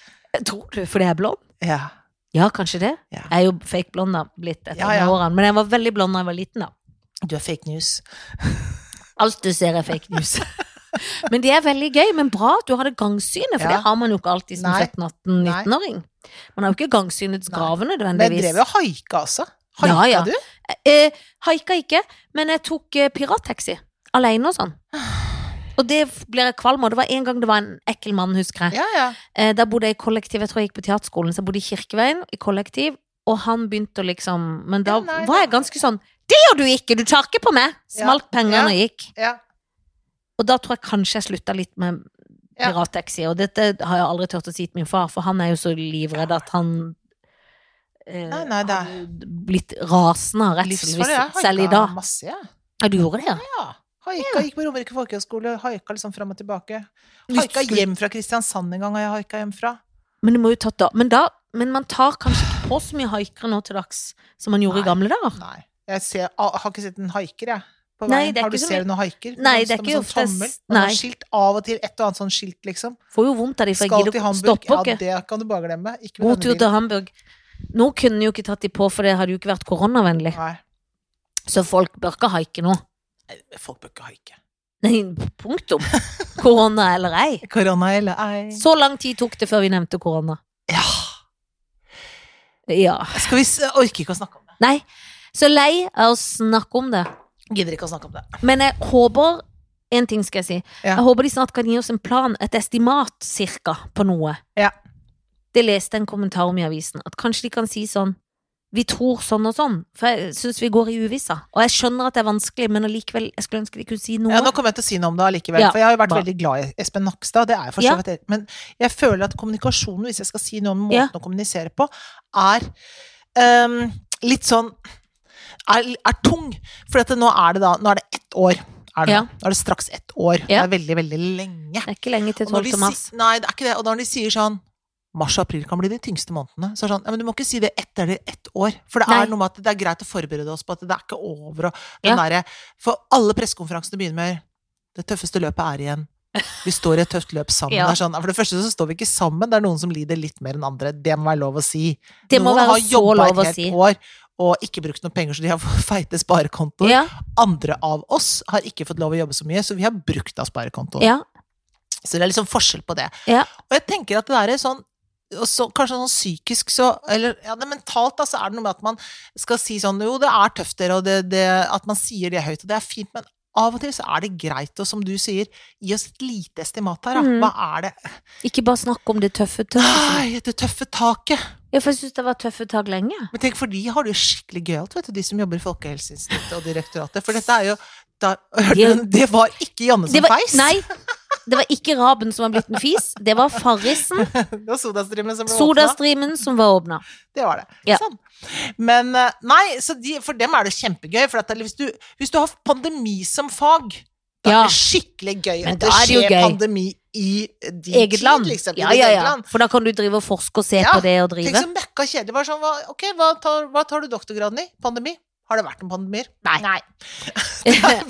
Speaker 2: Tror du fordi jeg er blond?
Speaker 1: Ja.
Speaker 2: Ja, kanskje det.
Speaker 1: Ja.
Speaker 2: Jeg er jo fake blond da, blitt etter
Speaker 1: Ja, ja.
Speaker 2: årene. Men jeg var veldig blond da jeg var liten, da.
Speaker 1: Du er fake news.
Speaker 2: Alt du ser er fake news. men det er veldig gøy. Men bra at du har det gangsynet, for
Speaker 1: Ja.
Speaker 2: det har man jo ikke alltid som
Speaker 1: Nei.
Speaker 2: 17-18-19-åring. Man har jo ikke gangsynets
Speaker 1: Nei.
Speaker 2: grave
Speaker 1: Men jeg
Speaker 2: nødvendigvis.
Speaker 1: drev jo og haika også. Haika
Speaker 2: Ja, ja.
Speaker 1: du?
Speaker 2: Eh, haika ikke, men jeg tok eh, pirattaxi. Alene og sånn. Og det blir jeg kvalm av. Det var en gang det var en ekkel mann, husker jeg.
Speaker 1: Ja, ja.
Speaker 2: Eh, Der bodde jeg i kollektiv, jeg tror jeg gikk på teaterskolen, så jeg bodde i Kirkeveien i kollektiv, og han begynte å liksom Men da
Speaker 1: Ja, nei,
Speaker 2: var jeg
Speaker 1: da-
Speaker 2: ganske sånn Det gjør du ikke! Du tar ikke på meg!
Speaker 1: Ja,
Speaker 2: Smalt
Speaker 1: ja.
Speaker 2: pengene og gikk.
Speaker 1: ja.
Speaker 2: Og da tror jeg kanskje jeg slutta litt med
Speaker 1: Ja.
Speaker 2: pirattaxi, og dette har jeg aldri turt å si til min far, for han er jo så livredd at han eh,
Speaker 1: Nei, nei, det er-
Speaker 2: har jo blitt rasende av redsel,
Speaker 1: Livsfarlig. Jeg
Speaker 2: hvis- selv i
Speaker 1: haika
Speaker 2: dag.
Speaker 1: masse, jeg.
Speaker 2: Ja, du gjorde det, ja?
Speaker 1: Ja. Haika, gikk på Romerike folkehøgskole, haika liksom fram og tilbake.
Speaker 2: Du
Speaker 1: Haika
Speaker 2: skulle-
Speaker 1: hjem fra Kristiansand en gang har jeg haika hjem fra.
Speaker 2: Men det må jo tatt da. Men, da, men man tar kanskje ikke på så mye haikere nå til dags som man gjorde
Speaker 1: Nei.
Speaker 2: i gamle dager.
Speaker 1: Nei. Jeg, ser, jeg har ikke sett en haiker, jeg. På
Speaker 2: Nei,
Speaker 1: veien.
Speaker 2: det er
Speaker 1: har du
Speaker 2: ikke så
Speaker 1: ser du noen haiker?
Speaker 2: Nei, det er
Speaker 1: Som
Speaker 2: ikke
Speaker 1: en
Speaker 2: ofte s-
Speaker 1: tommel. Man
Speaker 2: nei.
Speaker 1: har skilt av og til et og annet sånn skilt, liksom.
Speaker 2: Får jo vondt av de, for jeg
Speaker 1: Skal til
Speaker 2: gidder ikke
Speaker 1: Hamburg.
Speaker 2: stoppe
Speaker 1: Ja,
Speaker 2: ikke.
Speaker 1: det kan du bare glemme. Ikke
Speaker 2: God
Speaker 1: med denne
Speaker 2: tur
Speaker 1: bilen.
Speaker 2: til Hamburg. Nå kunne en jo ikke tatt de på, for det hadde jo ikke vært koronavennlig.
Speaker 1: Nei.
Speaker 2: Så folk bør ikke haike nå.
Speaker 1: Folk bør ikke haike.
Speaker 2: Nei, punktum. Korona eller ei.
Speaker 1: Korona eller ei.
Speaker 2: Mm. Så lang tid tok det før vi nevnte korona.
Speaker 1: Ja.
Speaker 2: Ja.
Speaker 1: Skal vi s- Orker ikke å snakke om det.
Speaker 2: Nei, så lei av å snakke om det.
Speaker 1: Gidder ikke å snakke om det.
Speaker 2: Men jeg håper En ting skal jeg si.
Speaker 1: Ja.
Speaker 2: Jeg håper de snart kan gi oss en plan, et estimat cirka, på noe.
Speaker 1: Ja.
Speaker 2: Det leste jeg en kommentar om i avisen. At kanskje de kan si sånn Vi tror sånn og sånn. For jeg syns vi går i uvissa. Og jeg skjønner at det er vanskelig, men allikevel Jeg skulle ønske de kunne si noe.
Speaker 1: Ja, nå kommer jeg til å si noe om det allikevel,
Speaker 2: Ja,
Speaker 1: for jeg har jo vært
Speaker 2: bra.
Speaker 1: veldig glad i Espen Nakstad, det er jeg for så
Speaker 2: Ja.
Speaker 1: vidt. Men jeg føler at kommunikasjonen, hvis jeg skal si noe om måten
Speaker 2: Ja.
Speaker 1: å kommunisere på, er ehm, litt sånn er, er tung. For at nå er det da Nå er det ett år. Er det,
Speaker 2: Ja.
Speaker 1: nå. nå er det straks ett år. Det
Speaker 2: Ja.
Speaker 1: er veldig, veldig lenge.
Speaker 2: Det er ikke lenge til
Speaker 1: Og når
Speaker 2: 12.
Speaker 1: de
Speaker 2: mars.
Speaker 1: si- nei, det er ikke det. Og når de sier sånn Mars og april kan bli de tyngste månedene. Så er det sånn, ja, men Du må ikke si det etter det ett år. For det
Speaker 2: Nei.
Speaker 1: er noe med at det er greit å forberede oss på at det er ikke over. Og den
Speaker 2: Ja.
Speaker 1: derre- for alle pressekonferansene begynner med 'Det tøffeste løpet er igjen'. Vi står i et tøft løp sammen.
Speaker 2: Ja.
Speaker 1: Det er sånn, for det første så står vi ikke sammen. Det er noen som lider litt mer enn andre. Det må være lov å si.
Speaker 2: Det må
Speaker 1: noen
Speaker 2: være
Speaker 1: har
Speaker 2: så
Speaker 1: jobba et
Speaker 2: lov å
Speaker 1: helt
Speaker 2: si.
Speaker 1: år og ikke brukt noen penger, så de har fått feite sparekontoer.
Speaker 2: Ja,
Speaker 1: Andre av oss har ikke fått lov å jobbe så mye, så vi har brukt av sparekontoen.
Speaker 2: ja,
Speaker 1: Så det er liksom forskjell på det.
Speaker 2: Ja.
Speaker 1: Og jeg tenker at det der er sånn og så, kanskje sånn psykisk så Eller ja, det er mentalt, da, så er det noe med at man skal si sånn Jo, det er tøft, dere, og det, det, at man sier det høyt, og det er fint, men av og til så er det greit å, som du sier, gi oss et lite estimat her, da.
Speaker 2: Mhm.
Speaker 1: Hva er det
Speaker 2: Ikke bare snakk om det tøffe taket.
Speaker 1: Ai, det tøffe taket!
Speaker 2: Ja, for jeg syns det var tøffe tak lenge.
Speaker 1: Men tenk, for de har det jo skikkelig gøyalt, vet du, de som jobber i Folkehelseinstituttet og direktoratet. For dette er jo da,
Speaker 2: De-
Speaker 1: Det var ikke Janne
Speaker 2: Det
Speaker 1: som
Speaker 2: var,
Speaker 1: feis!
Speaker 2: nei, det var ikke raben som var blitt en fis. Det var farrisen,
Speaker 1: Det var sodastreamen som ble åpnet.
Speaker 2: sodastrimen, som var åpna.
Speaker 1: Det var det.
Speaker 2: Ja.
Speaker 1: Sånn. Men eh, nei, så de, for dem er det kjempegøy. For at det, hvis, du, hvis du har pandemi som fag, da
Speaker 2: Ja.
Speaker 1: er det skikkelig gøy
Speaker 2: Men
Speaker 1: at
Speaker 2: da
Speaker 1: det
Speaker 2: er det jo
Speaker 1: skjer
Speaker 2: gøy.
Speaker 1: pandemi i din
Speaker 2: Eget land.
Speaker 1: tid, liksom. i
Speaker 2: Ja,
Speaker 1: ditt
Speaker 2: ja,
Speaker 1: eget
Speaker 2: ja.
Speaker 1: land.
Speaker 2: For da kan du drive og forske og se
Speaker 1: Ja,
Speaker 2: på det og
Speaker 1: Tenk
Speaker 2: drive.
Speaker 1: så møkka kjedelig. Bare sånn, hva, ok, hva tar, hva tar du doktorgraden i? Pandemi? Har det vært noen pandemier?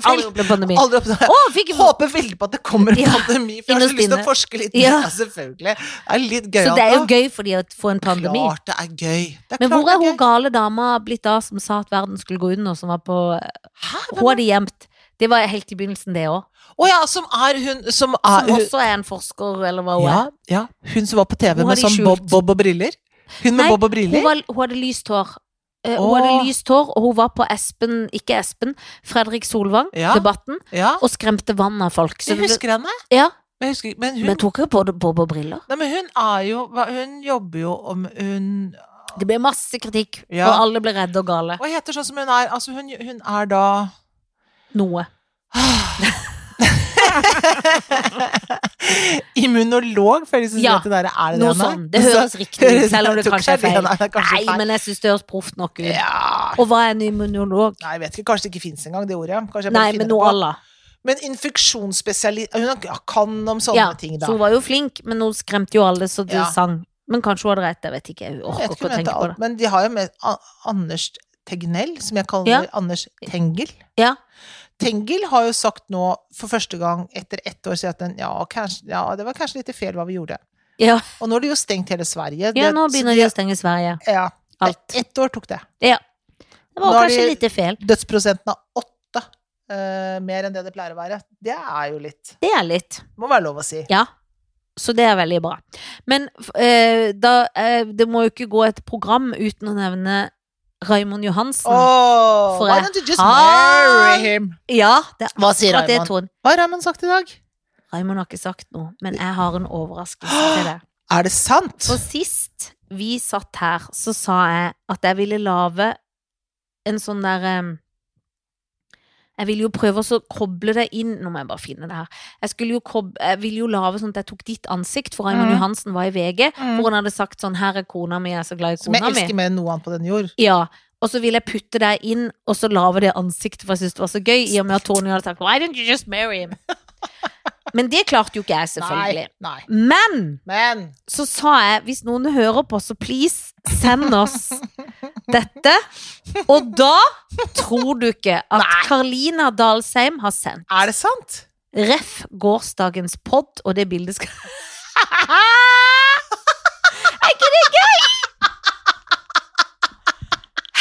Speaker 2: Aldri opplevd pandemi. Å,
Speaker 1: Aldri oppdaget
Speaker 2: fikk
Speaker 1: jeg håper veldig på at det kommer en
Speaker 2: Ja,
Speaker 1: pandemi, for jeg har så
Speaker 2: innerst
Speaker 1: lyst til
Speaker 2: inne.
Speaker 1: å forske litt.
Speaker 2: Ja.
Speaker 1: Ja, selvfølgelig. Det er litt gøy.
Speaker 2: Så det er jo
Speaker 1: Anna.
Speaker 2: gøy for de å få en pandemi.
Speaker 1: Klart det er gøy. Det er
Speaker 2: Men
Speaker 1: klart
Speaker 2: hvor er
Speaker 1: det
Speaker 2: hun gale dama blitt av som sa at verden skulle gå under, som var på
Speaker 1: Hæ?
Speaker 2: Hun hadde gjemt. Det var helt i begynnelsen, det òg.
Speaker 1: Å ja, som er hun Som er
Speaker 2: Som
Speaker 1: Ah, hun
Speaker 2: også er en forsker, eller hva hun er.
Speaker 1: Ja, ja, hun som var på TV
Speaker 2: Hun har
Speaker 1: med
Speaker 2: de
Speaker 1: sånn
Speaker 2: skjult.
Speaker 1: bob, bob og briller. Hun med
Speaker 2: Nei,
Speaker 1: bob og
Speaker 2: Hun,
Speaker 1: briller.
Speaker 2: var, hun hadde lyst hår. Eh, Hun
Speaker 1: Åh.
Speaker 2: hadde lyst hår, og hun var på Espen, ikke Espen, Fredrik
Speaker 1: Ja.
Speaker 2: Solvang-debatten,
Speaker 1: Ja,
Speaker 2: og skremte vann av folk. Så
Speaker 1: jeg
Speaker 2: det,
Speaker 1: husker henne.
Speaker 2: ja,
Speaker 1: Men, jeg husker, men, hun,
Speaker 2: men tok jo på det- bob og briller.
Speaker 1: nei, men hun er jo hva- Hun jobber jo om hun
Speaker 2: Det ble masse kritikk,
Speaker 1: Ja.
Speaker 2: og alle ble redde og gale.
Speaker 1: Hva heter sånn som hun er? Altså, hun, hun er da
Speaker 2: Noe.
Speaker 1: Immunolog, føles det
Speaker 2: Ja,
Speaker 1: som. Ja, er det
Speaker 2: Noe
Speaker 1: hun er?
Speaker 2: sånn. Det høres riktig ut, selv om det
Speaker 1: Tok
Speaker 2: kanskje er
Speaker 1: seg det,
Speaker 2: feil.
Speaker 1: Nei, det er kanskje
Speaker 2: Nei,
Speaker 1: feil.
Speaker 2: men jeg syns det høres proft nok ut.
Speaker 1: Ja.
Speaker 2: Og hva er en immunolog?
Speaker 1: Nei, jeg vet ikke. Kanskje det ikke fins engang, det ordet. Kanskje jeg bare
Speaker 2: Nei,
Speaker 1: finner det
Speaker 2: men noe
Speaker 1: på.
Speaker 2: à la.
Speaker 1: Men infeksjonsspesialist Hun har- kan om sånne
Speaker 2: Ja,
Speaker 1: ting, da.
Speaker 2: så hun var jo flink, men hun skremte jo alle, så det
Speaker 1: Ja.
Speaker 2: sang. Men kanskje hun hadde rett, jeg vet ikke. Jeg
Speaker 1: Jeg
Speaker 2: orker
Speaker 1: vet
Speaker 2: ikke
Speaker 1: ikke
Speaker 2: å
Speaker 1: om jeg
Speaker 2: tenke
Speaker 1: vet
Speaker 2: på
Speaker 1: alt,
Speaker 2: det.
Speaker 1: men de har jo med A- Anders Tegnell, som jeg kaller
Speaker 2: Ja.
Speaker 1: Anders Tengel.
Speaker 2: Ja.
Speaker 1: Tengel har jo sagt nå, for første gang etter ett år siden, at den, ja, kanskje, ja, det var kanskje litt feil hva vi gjorde.
Speaker 2: Ja.
Speaker 1: Og nå har de jo stengt hele Sverige.
Speaker 2: ja, nå
Speaker 1: så
Speaker 2: begynner de å stenge Sverige.
Speaker 1: Ja.
Speaker 2: Alt.
Speaker 1: Ett år tok det.
Speaker 2: Ja. Det
Speaker 1: Nå
Speaker 2: var
Speaker 1: er
Speaker 2: kanskje
Speaker 1: de-
Speaker 2: litt feil.
Speaker 1: Dødsprosenten er åtte. eh, mer enn det det pleier å være. Det er jo litt
Speaker 2: Det er litt.
Speaker 1: Må være lov å si.
Speaker 2: Ja. Så det er veldig bra. Men f- eh, da, eh, det må jo ikke gå et program uten å nevne Raymond Johansen.
Speaker 1: Oh,
Speaker 2: For
Speaker 1: why
Speaker 2: jeg
Speaker 1: don't you just
Speaker 2: har-
Speaker 1: marry him?
Speaker 2: Ja, det,
Speaker 1: Hva sier
Speaker 2: akkurat det
Speaker 1: Raymond?
Speaker 2: tror jeg.
Speaker 1: Hva har Raymond sagt i dag?
Speaker 2: Raymond har ikke sagt noe, men jeg har en overraskelse til deg.
Speaker 1: Er det sant?
Speaker 2: For sist vi satt her, så sa jeg at jeg ville lage en sånn der em, Jeg ville jo prøve å så koble det inn Nå må jeg bare finne det her. Jeg, skulle jo kob- jeg ville jo lage sånn at jeg tok ditt ansikt, for Raymond
Speaker 1: Mm.
Speaker 2: Johansen var i VG,
Speaker 1: Mm.
Speaker 2: hvor han hadde sagt sånn 'Her er kona mi, jeg er så glad i
Speaker 1: Som jeg
Speaker 2: kona mi'.
Speaker 1: elsker mer enn noe annet på den jord.
Speaker 2: Ja, og så ville jeg putte deg inn, og så lage det ansiktet, for jeg syntes det var så gøy, i og med at Tony hadde sagt 'Why didn't you just marry him?' Men det klarte jo ikke jeg, selvfølgelig.
Speaker 1: Nei, nei.
Speaker 2: Men
Speaker 1: Men
Speaker 2: så sa jeg hvis noen hører på, så please send oss dette. Og da tror du ikke at
Speaker 1: Nei.
Speaker 2: Karlina Dalsheim har sendt.
Speaker 1: er det sant?
Speaker 2: Ref gårsdagens pod, og det bildet skal Er ikke det gøy?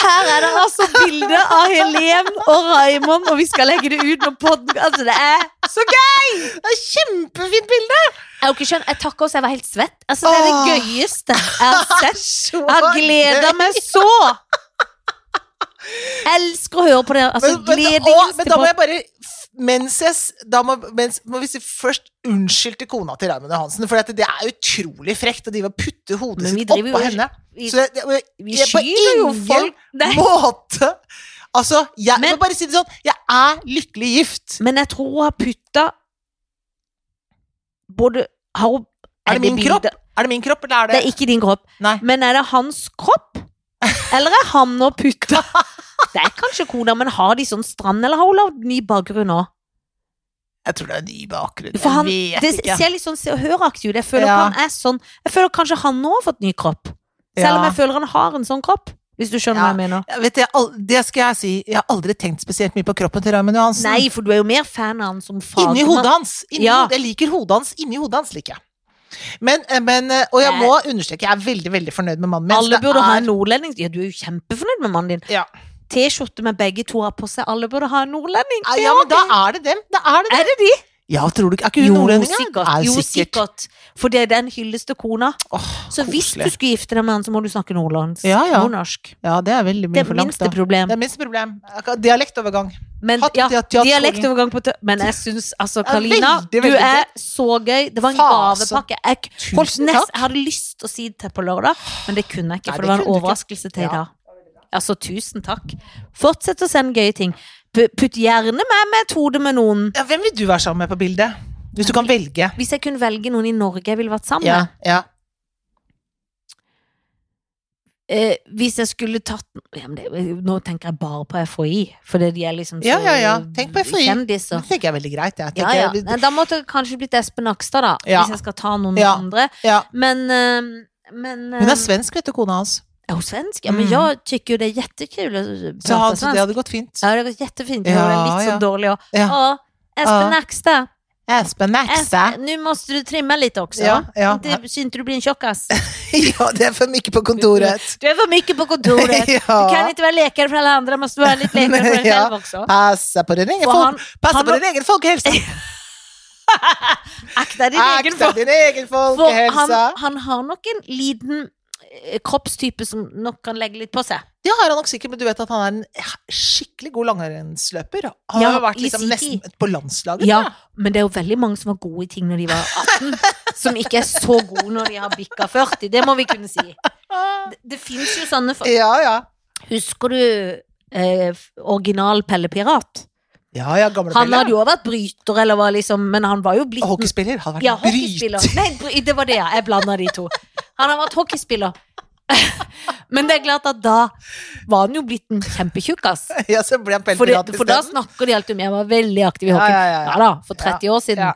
Speaker 2: Her er det altså bilde av Helen og Raymond, og vi skal legge det ut når podden Altså, det er
Speaker 1: Så gøy! Det er Kjempefint bilde!
Speaker 2: Jeg har jo ikke skjønt, jeg takker også, jeg var helt svett. Altså, det er
Speaker 1: Åh.
Speaker 2: det gøyeste jeg har sett.
Speaker 1: Så
Speaker 2: Jeg har gleda
Speaker 1: gøy.
Speaker 2: meg så! Elsker å høre på det. Altså,
Speaker 1: Men- men da-
Speaker 2: glede
Speaker 1: å, Men da må
Speaker 2: på
Speaker 1: jeg bare f- Mens jeg s- Da må, mens, må vi si først unnskyld til kona til Raymond Johansen, for dette- det er utrolig frekt å drive og putte hodet
Speaker 2: Men vi
Speaker 1: sitt
Speaker 2: driver
Speaker 1: oppå
Speaker 2: jo-
Speaker 1: henne.
Speaker 2: vi-
Speaker 1: Så det, det, jeg,
Speaker 2: Vi
Speaker 1: jeg- på
Speaker 2: skyter jo
Speaker 1: ingen
Speaker 2: folk. Nei.
Speaker 1: måte Altså, jeg
Speaker 2: Men-
Speaker 1: må bare si det sånn Jeg er lykkelig gift.
Speaker 2: Men jeg tror hun har putta Både har hun
Speaker 1: Er det min
Speaker 2: bildet-
Speaker 1: kropp? Er det min kropp, eller er det,
Speaker 2: Det er ikke din kropp.
Speaker 1: Nei.
Speaker 2: Men er det hans kropp? Eller er han å putte? Det er kanskje kona, men har de sånn strand, eller har hun lagd ny bakgrunn òg?
Speaker 1: Jeg tror det er ny bakgrunn.
Speaker 2: For han,
Speaker 1: jeg vet
Speaker 2: det
Speaker 1: ikke.
Speaker 2: ser litt sånn se og høraktig ut. Jeg føler
Speaker 1: Ja.
Speaker 2: at han er sånn Jeg føler kanskje han òg har fått ny kropp. Selv om
Speaker 1: Ja.
Speaker 2: jeg føler han har en sånn kropp. Hvis du skjønner
Speaker 1: Ja.
Speaker 2: hva jeg mener.
Speaker 1: Jeg vet, jeg, al- det skal jeg si. Jeg har aldri tenkt spesielt mye på kroppen til Raymond Johansen.
Speaker 2: Nei, for du er jo mer fan av han som
Speaker 1: Sånn.
Speaker 2: fagmann.
Speaker 1: Inni hodet hans. Inni
Speaker 2: Ja.
Speaker 1: hodet. Jeg liker hodet hans. Inni hodet hans liker jeg. Men, eh, men, eh, og jeg må understreke, jeg er veldig veldig fornøyd med mannen min. så
Speaker 2: Alle
Speaker 1: det
Speaker 2: burde
Speaker 1: er,
Speaker 2: ha en nordlending. Ja, du er jo kjempefornøyd med mannen din.
Speaker 1: Ja.
Speaker 2: T-skjorte med begge to har på seg. Alle burde ha en nordlending.
Speaker 1: Ja, Ja, men da er det dem. Da er det dem.
Speaker 2: Er det de?
Speaker 1: Ja, tror du ikke Er ikke hun nordlending? ja?
Speaker 2: sikkert.
Speaker 1: Er
Speaker 2: Jo,
Speaker 1: sikkert.
Speaker 2: sikkert. For det er den hylleste kona.
Speaker 1: Åh,
Speaker 2: Så hvis du
Speaker 1: koselig.
Speaker 2: skulle gifte deg med han, så må du snakke nordlandsk.
Speaker 1: Ja, ja.
Speaker 2: Nordnorsk.
Speaker 1: Ja, det er veldig
Speaker 2: Det
Speaker 1: mye
Speaker 2: er
Speaker 1: for langt,
Speaker 2: minste
Speaker 1: da. Det
Speaker 2: problem.
Speaker 1: er minste problem. Akkurat Dialektovergang.
Speaker 2: Men
Speaker 1: Hatt,
Speaker 2: ja,
Speaker 1: ja, teater-
Speaker 2: dialektovergang på tø... Men jeg syns altså,
Speaker 1: Ja, veldig,
Speaker 2: Karina, du
Speaker 1: veldig
Speaker 2: er så gøy. Det var en
Speaker 1: Faen, altså.
Speaker 2: gavepakke. Jeg,
Speaker 1: Tusen
Speaker 2: holdt nest,
Speaker 1: takk.
Speaker 2: jeg hadde lyst til å si det til på lørdag, men det kunne jeg ikke,
Speaker 1: Nei, det
Speaker 2: for det var en
Speaker 1: kunne du ikke.
Speaker 2: overraskelse til i
Speaker 1: Ja.
Speaker 2: dag. Altså, tusen takk. Fortsett å sende gøye ting. P putt gjerne meg med et hode med noen.
Speaker 1: Ja, hvem vil du være sammen med på bildet? Hvis du kan velge.
Speaker 2: Hvis jeg kunne velge noen i Norge jeg ville vært sammen
Speaker 1: Ja,
Speaker 2: med
Speaker 1: ja.
Speaker 2: eh, Hvis jeg skulle tatt ja, men det, Nå tenker jeg bare på FHI, for det de er liksom så
Speaker 1: Ja, ja, ja. Tenk på FHI.
Speaker 2: kjendiser.
Speaker 1: Det tenker jeg er veldig greit. Jeg
Speaker 2: Ja,
Speaker 1: tenker,
Speaker 2: ja.
Speaker 1: jeg-
Speaker 2: Nei, Da måtte det kanskje blitt Espen Nakstad, da.
Speaker 1: Ja.
Speaker 2: Hvis jeg skal ta noen
Speaker 1: Ja.
Speaker 2: andre.
Speaker 1: Ja.
Speaker 2: Men, eh, men eh,
Speaker 1: Hun er svensk, vet du, kona hans.
Speaker 2: er hun svensk? Ja, men
Speaker 1: Mm.
Speaker 2: jeg tycker ju det er jättekul å
Speaker 1: Så,
Speaker 2: prata
Speaker 1: han, så det
Speaker 2: svensk.
Speaker 1: hadde gått fint.
Speaker 2: Ja, det har gått jättefint. Jag
Speaker 1: Ja,
Speaker 2: har lite så
Speaker 1: ja.
Speaker 2: dålig och...
Speaker 1: Ja.
Speaker 2: Ja, Espen
Speaker 1: Ja.
Speaker 2: Nakstad.
Speaker 1: Espen Nakstad.
Speaker 2: Es- Nu måste du trimma lite också.
Speaker 1: Ja, ja.
Speaker 2: Inte, så inte du blir en tjockass.
Speaker 1: Ja, det er for mye på kontoret.
Speaker 2: Du är för mycket på kontoret. Du kan
Speaker 1: Ja.
Speaker 2: inte vara läkare för alla andra, måste vara lite läkare för dig
Speaker 1: Ja.
Speaker 2: själv också.
Speaker 1: Passa på din egen,
Speaker 2: Och
Speaker 1: folk,
Speaker 2: han,
Speaker 1: passa
Speaker 2: han
Speaker 1: på din egen folkehälsa.
Speaker 2: akta din egen
Speaker 1: Akta
Speaker 2: folk.
Speaker 1: din egen
Speaker 2: For han,
Speaker 1: folkehälsa.
Speaker 2: han har nok en liten eh, kroppstype som nok kan legge litt på seg.
Speaker 1: Det har han nok sikkert, men du vet at han er en skikkelig god langrennsløper. Han
Speaker 2: Ja,
Speaker 1: har vært
Speaker 2: i
Speaker 1: liksom
Speaker 2: sin
Speaker 1: nesten på landslaget.
Speaker 2: Ja,
Speaker 1: da.
Speaker 2: men det er jo veldig mange som var gode i ting når de var 18, som ikke er så gode når de har bikka 40. Det må vi kunne si. Det, det fins jo sånne folk.
Speaker 1: Ja, ja.
Speaker 2: Husker du eh, f- original Pelle Pirat?
Speaker 1: Ja, ja, gamle
Speaker 2: Han
Speaker 1: Pelle.
Speaker 2: hadde jo også vært bryter, eller var liksom, men han var jo blitt
Speaker 1: Hockeyspiller. Han har vært
Speaker 2: Ja,
Speaker 1: bryt.
Speaker 2: hockeyspiller. Nei, bry- det var det, ja. Jeg blanda de to. Han har vært hockeyspiller. Men det er klart at da var han jo blitt en kjempetjukkas.
Speaker 1: Ja, så ble han Pelle
Speaker 2: For, det-
Speaker 1: Pirat
Speaker 2: for da
Speaker 1: isteden.
Speaker 2: snakker de alltid om jeg var veldig aktiv i
Speaker 1: Ja,
Speaker 2: hockey.
Speaker 1: ja,
Speaker 2: Ja,
Speaker 1: ja, ja.
Speaker 2: da, for 30 år siden.
Speaker 1: Ja.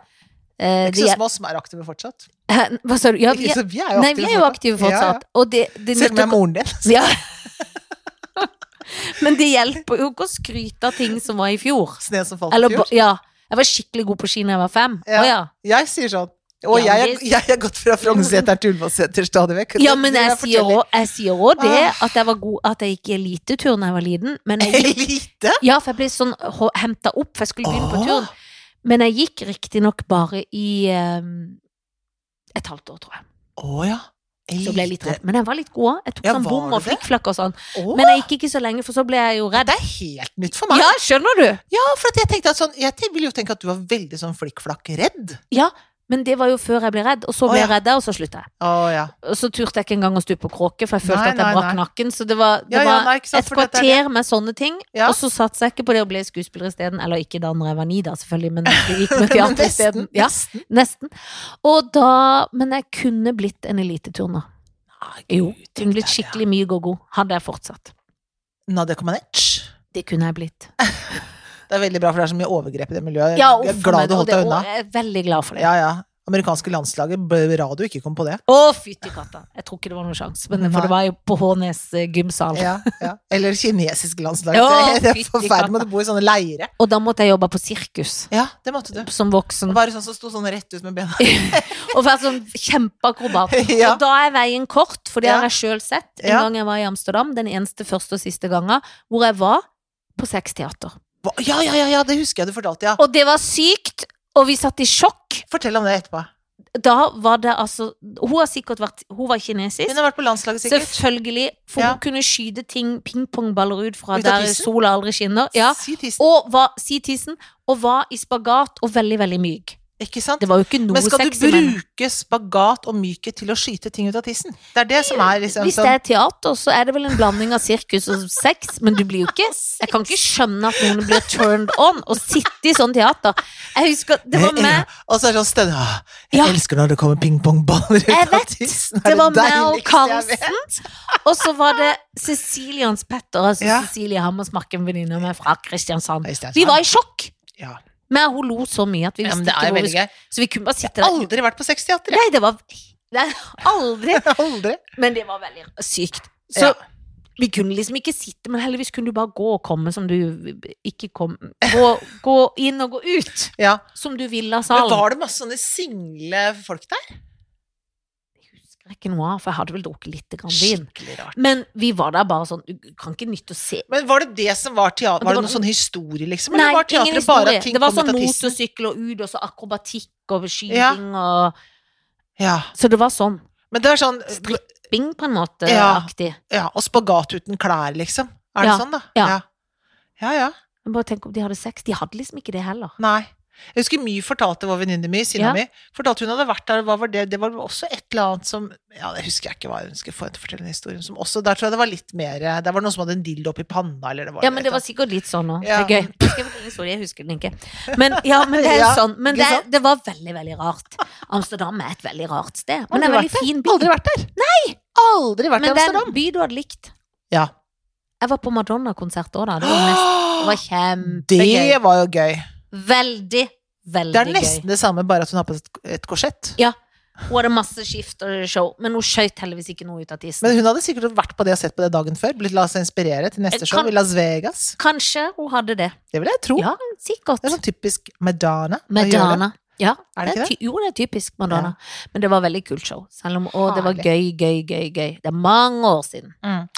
Speaker 2: Eh,
Speaker 1: Ikke så
Speaker 2: de,
Speaker 1: som oss som er aktive fortsatt.
Speaker 2: hva sa du? Ja, vi
Speaker 1: Ikke
Speaker 2: er,
Speaker 1: så vi er jo
Speaker 2: nei, vi er jo aktive
Speaker 1: Ja, ja.
Speaker 2: fortsatt. Og det, det
Speaker 1: Selv om jeg er
Speaker 2: nytter-
Speaker 1: moren din.
Speaker 2: ja. Men det hjelper jo ikke å skryte av ting som var i fjor.
Speaker 1: Sne som falt i
Speaker 2: Eller,
Speaker 1: fjor.
Speaker 2: ba- ja. Jeg var skikkelig god på ski da jeg var fem.
Speaker 1: Ja.
Speaker 2: Å, ja.
Speaker 1: Jeg sier sånn. Og
Speaker 2: Ja,
Speaker 1: jeg,
Speaker 2: men
Speaker 1: er- jeg er gått fra Frognerseter til Ulvålseter stadig vekk.
Speaker 2: Ja, men jeg sier
Speaker 1: forteller.
Speaker 2: også- jeg sier òg det,
Speaker 1: Ah.
Speaker 2: at jeg, var god, at jeg gikk i elitetur da jeg var liten. Men jeg gikk,
Speaker 1: Elite?
Speaker 2: ja, for jeg ble sånn henta opp, for jeg skulle begynne på
Speaker 1: Åh.
Speaker 2: turn. Men jeg gikk riktignok bare i eh, et halvt ehm, år, tror jeg.
Speaker 1: Å ja.
Speaker 2: Så ble jeg litt redd. Men jeg var litt god. Jeg tok
Speaker 1: Ja,
Speaker 2: sånn
Speaker 1: var
Speaker 2: bom
Speaker 1: du
Speaker 2: og
Speaker 1: det?
Speaker 2: flikkflakk og sånn.
Speaker 1: Åh,
Speaker 2: Men jeg gikk ikke så lenge, for så ble jeg jo redd.
Speaker 1: det er helt nytt for meg.
Speaker 2: Ja, skjønner du?
Speaker 1: Ja, for at jeg tenkte at sånn, jeg vil jo tenke at du var veldig sånn flikkflakk-redd.
Speaker 2: Ja, men det var jo før jeg ble redd. Og så ble
Speaker 1: Å, ja.
Speaker 2: jeg redd, og så slutta jeg.
Speaker 1: Å ja.
Speaker 2: Og så turte jeg ikke engang å stupe på kråke, for jeg følte
Speaker 1: Nei,
Speaker 2: at jeg
Speaker 1: nei,
Speaker 2: brakk
Speaker 1: nei.
Speaker 2: nakken. Så det var, det
Speaker 1: Ja, ja,
Speaker 2: var
Speaker 1: nei, ikke sant,
Speaker 2: et
Speaker 1: for dette er
Speaker 2: kvarter
Speaker 1: det.
Speaker 2: med sånne ting.
Speaker 1: Ja.
Speaker 2: Og så satsa jeg ikke på det å bli skuespiller isteden. Eller ikke da når jeg var ni, da, selvfølgelig, men det gikk med teater isteden. Ja,
Speaker 1: nesten.
Speaker 2: nesten. Og da Men jeg kunne blitt en eliteturner.
Speaker 1: Nei,
Speaker 2: Jo.
Speaker 1: Ah, Gud, tenk
Speaker 2: Kunne
Speaker 1: deg
Speaker 2: blitt
Speaker 1: det.
Speaker 2: skikkelig myk og god. Hadde jeg fortsatt.
Speaker 1: Nadia Comaneci.
Speaker 2: Det kunne jeg blitt.
Speaker 1: Det er veldig bra, for det er så mye overgrep i det miljøet. Jeg
Speaker 2: Ja,
Speaker 1: er
Speaker 2: uff,
Speaker 1: glad du
Speaker 2: men- og
Speaker 1: holdt
Speaker 2: det-
Speaker 1: deg unna.
Speaker 2: og Jeg er veldig glad for det.
Speaker 1: Ja, ja. Amerikanske landslaget, bra du ikke kom på det.
Speaker 2: Å, fytti katta! Jeg tror ikke det var noen sjanse, men
Speaker 1: Nei.
Speaker 2: for det var jo på Hånes eh, gymsal.
Speaker 1: Ja, ja. Eller kinesisk landslag.
Speaker 2: Ja,
Speaker 1: det er
Speaker 2: fytti
Speaker 1: forferdelig med å bo i sånne leire.
Speaker 2: Og da måtte jeg jobbe på sirkus
Speaker 1: Ja, det måtte du.
Speaker 2: som voksen.
Speaker 1: Og være sånn som sto sånn rett ut med bena.
Speaker 2: Og vært sånn kjempeakrobat.
Speaker 1: Ja.
Speaker 2: Og da er veien kort, for det
Speaker 1: Ja.
Speaker 2: har jeg sjøl sett en
Speaker 1: Ja.
Speaker 2: gang jeg var i Amsterdam. Den eneste første og siste gangen hvor jeg var på sexteater.
Speaker 1: Hva- Ja, ja, ja, ja, det husker jeg du fortalte, ja.
Speaker 2: Og det var sykt, og vi satt i sjokk.
Speaker 1: Fortell om det etterpå.
Speaker 2: Da var det altså Hun har sikkert vært Hun var
Speaker 1: Hun
Speaker 2: kinesisk.
Speaker 1: har vært på landslaget, sikkert.
Speaker 2: Selvfølgelig. For
Speaker 1: Ja.
Speaker 2: hun kunne skyte ting, pingpongballer ut fra
Speaker 1: Ut av
Speaker 2: der
Speaker 1: tissen?
Speaker 2: sola aldri skinner. Ja.
Speaker 1: Si tissen.
Speaker 2: Og var, si tissen, og var i spagat og veldig, veldig myk.
Speaker 1: Ikke sant?
Speaker 2: Det var jo ikke noe
Speaker 1: Men skal du
Speaker 2: sexy, men-
Speaker 1: bruke spagat og mykhet til å skyte ting ut av tissen? Det er det som er liksom
Speaker 2: Hvis det er teater, så er det vel en blanding av sirkus og sex, men du blir jo ikke Jeg kan ikke skjønne at noen blir turned on og sitte i sånn teater. Jeg husker Det var meg,
Speaker 1: Og så er det sånn stønn «Åh, Jeg
Speaker 2: Ja.
Speaker 1: elsker når det kommer pingpongballer ut
Speaker 2: Jeg
Speaker 1: av
Speaker 2: vet.
Speaker 1: tissen. Er
Speaker 2: det var meg og
Speaker 1: deiligste jeg vet?
Speaker 2: Karlsen, og så var det Cecilie Hans Petter, altså
Speaker 1: Ja.
Speaker 2: Cecilie Hammersmark, en venninne av meg fra Kristiansand.
Speaker 1: Nei, Steinsand.
Speaker 2: Vi var i sjokk!
Speaker 1: Ja.
Speaker 2: Men hun lo så mye at vi
Speaker 1: Ja, men
Speaker 2: visste
Speaker 1: det er
Speaker 2: ikke hvor vi
Speaker 1: veldig
Speaker 2: skulle
Speaker 1: gøy.
Speaker 2: Så vi kunne bare sitte der.
Speaker 1: Aldri vært på sexteater, jeg.
Speaker 2: Nei, det var Nei, Aldri.
Speaker 1: Aldri.
Speaker 2: Men det var veldig sykt. Så
Speaker 1: Ja.
Speaker 2: vi kunne liksom ikke sitte, men heldigvis kunne du bare gå og komme som du ikke kom Gå, gå inn og gå ut
Speaker 1: Ja.
Speaker 2: som du ville
Speaker 1: Men
Speaker 2: av salen.
Speaker 1: var det masse sånne single folk der?
Speaker 2: Jeg husker ikke noe av, for jeg hadde vel drukket litt grann vin.
Speaker 1: Skikkelig rart.
Speaker 2: Men vi var der bare sånn Du kan ikke nytte å se
Speaker 1: Men var det det som var teater?
Speaker 2: Det
Speaker 1: Var det
Speaker 2: var-
Speaker 1: noen sånn historie, liksom?
Speaker 2: Nei,
Speaker 1: Eller var
Speaker 2: ingen
Speaker 1: teatret bare
Speaker 2: historie.
Speaker 1: at ting
Speaker 2: Det var
Speaker 1: kom
Speaker 2: sånn
Speaker 1: ut av tissen?
Speaker 2: motorsykkel og ut, og så akrobatikk og skyting
Speaker 1: Ja.
Speaker 2: og
Speaker 1: Ja.
Speaker 2: Så det var sånn
Speaker 1: Men det er sånn
Speaker 2: stripping, på en måte,
Speaker 1: Ja.
Speaker 2: aktig.
Speaker 1: Ja, og spagat uten klær, liksom. Er det
Speaker 2: Ja,
Speaker 1: sånn, da?
Speaker 2: ja.
Speaker 1: Ja, ja.
Speaker 2: Men Bare tenk om de hadde sex. De hadde liksom ikke det heller.
Speaker 1: Nei. Jeg husker My fortalte vår venninne mi, Sina
Speaker 2: Ja.
Speaker 1: mi, fortalte hun hadde vært der, hva var det? Det var også et eller annet som Ja, det husker jeg ikke hva hun skulle få henne til å fortelle den historien som også Der tror jeg det var litt mer Der var det noen som hadde en dildo oppi panna, eller det var
Speaker 2: Ja, men det var
Speaker 1: et
Speaker 2: sikkert litt sånn òg.
Speaker 1: Ja.
Speaker 2: Det er gøy. Jeg skrev en historie, jeg husker den ikke. Men, ja, men det er jo
Speaker 1: Ja,
Speaker 2: sånn. Men
Speaker 1: ikke
Speaker 2: det,
Speaker 1: sant?
Speaker 2: det var veldig, veldig rart. Amsterdam er et veldig rart sted. Men det er
Speaker 1: Aldri
Speaker 2: en veldig fin
Speaker 1: eller annet.
Speaker 2: by.
Speaker 1: Aldri vært der! Nei! Aldri vært i
Speaker 2: Men det er
Speaker 1: Amsterdam!
Speaker 2: en by du hadde likt.
Speaker 1: Ja.
Speaker 2: Jeg var på Madonna-konsert òg da. Det var, nest, det var
Speaker 1: Det
Speaker 2: kjempegøy.
Speaker 1: var jo gøy.
Speaker 2: Veldig,
Speaker 1: Det
Speaker 2: veldig
Speaker 1: er
Speaker 2: gøy.
Speaker 1: nesten det samme, bare at hun har på seg et- et korsett.
Speaker 2: Hun hadde masse skift og show, men hun skøyt heldigvis ikke noe ut av tissen.
Speaker 1: Men hun hadde sikkert vært på det og sett på det dagen før. Blitt la seg inspirere til neste
Speaker 2: Jeg
Speaker 1: show
Speaker 2: Eh, kan-
Speaker 1: i Las Vegas.
Speaker 2: Kanskje hun hadde det.
Speaker 1: Det vil jeg tro.
Speaker 2: Ja, sikkert.
Speaker 1: Det er sånn typisk Madonna. å gjøre.
Speaker 2: Madonna. Ja,
Speaker 1: Er
Speaker 2: er
Speaker 1: det
Speaker 2: det
Speaker 1: ikke
Speaker 2: ty- jo, det er typisk Madonna. Men det var veldig kult show. Selv om å, det var gøy, gøy, gøy, gøy. Det er mange år siden.
Speaker 1: Mm.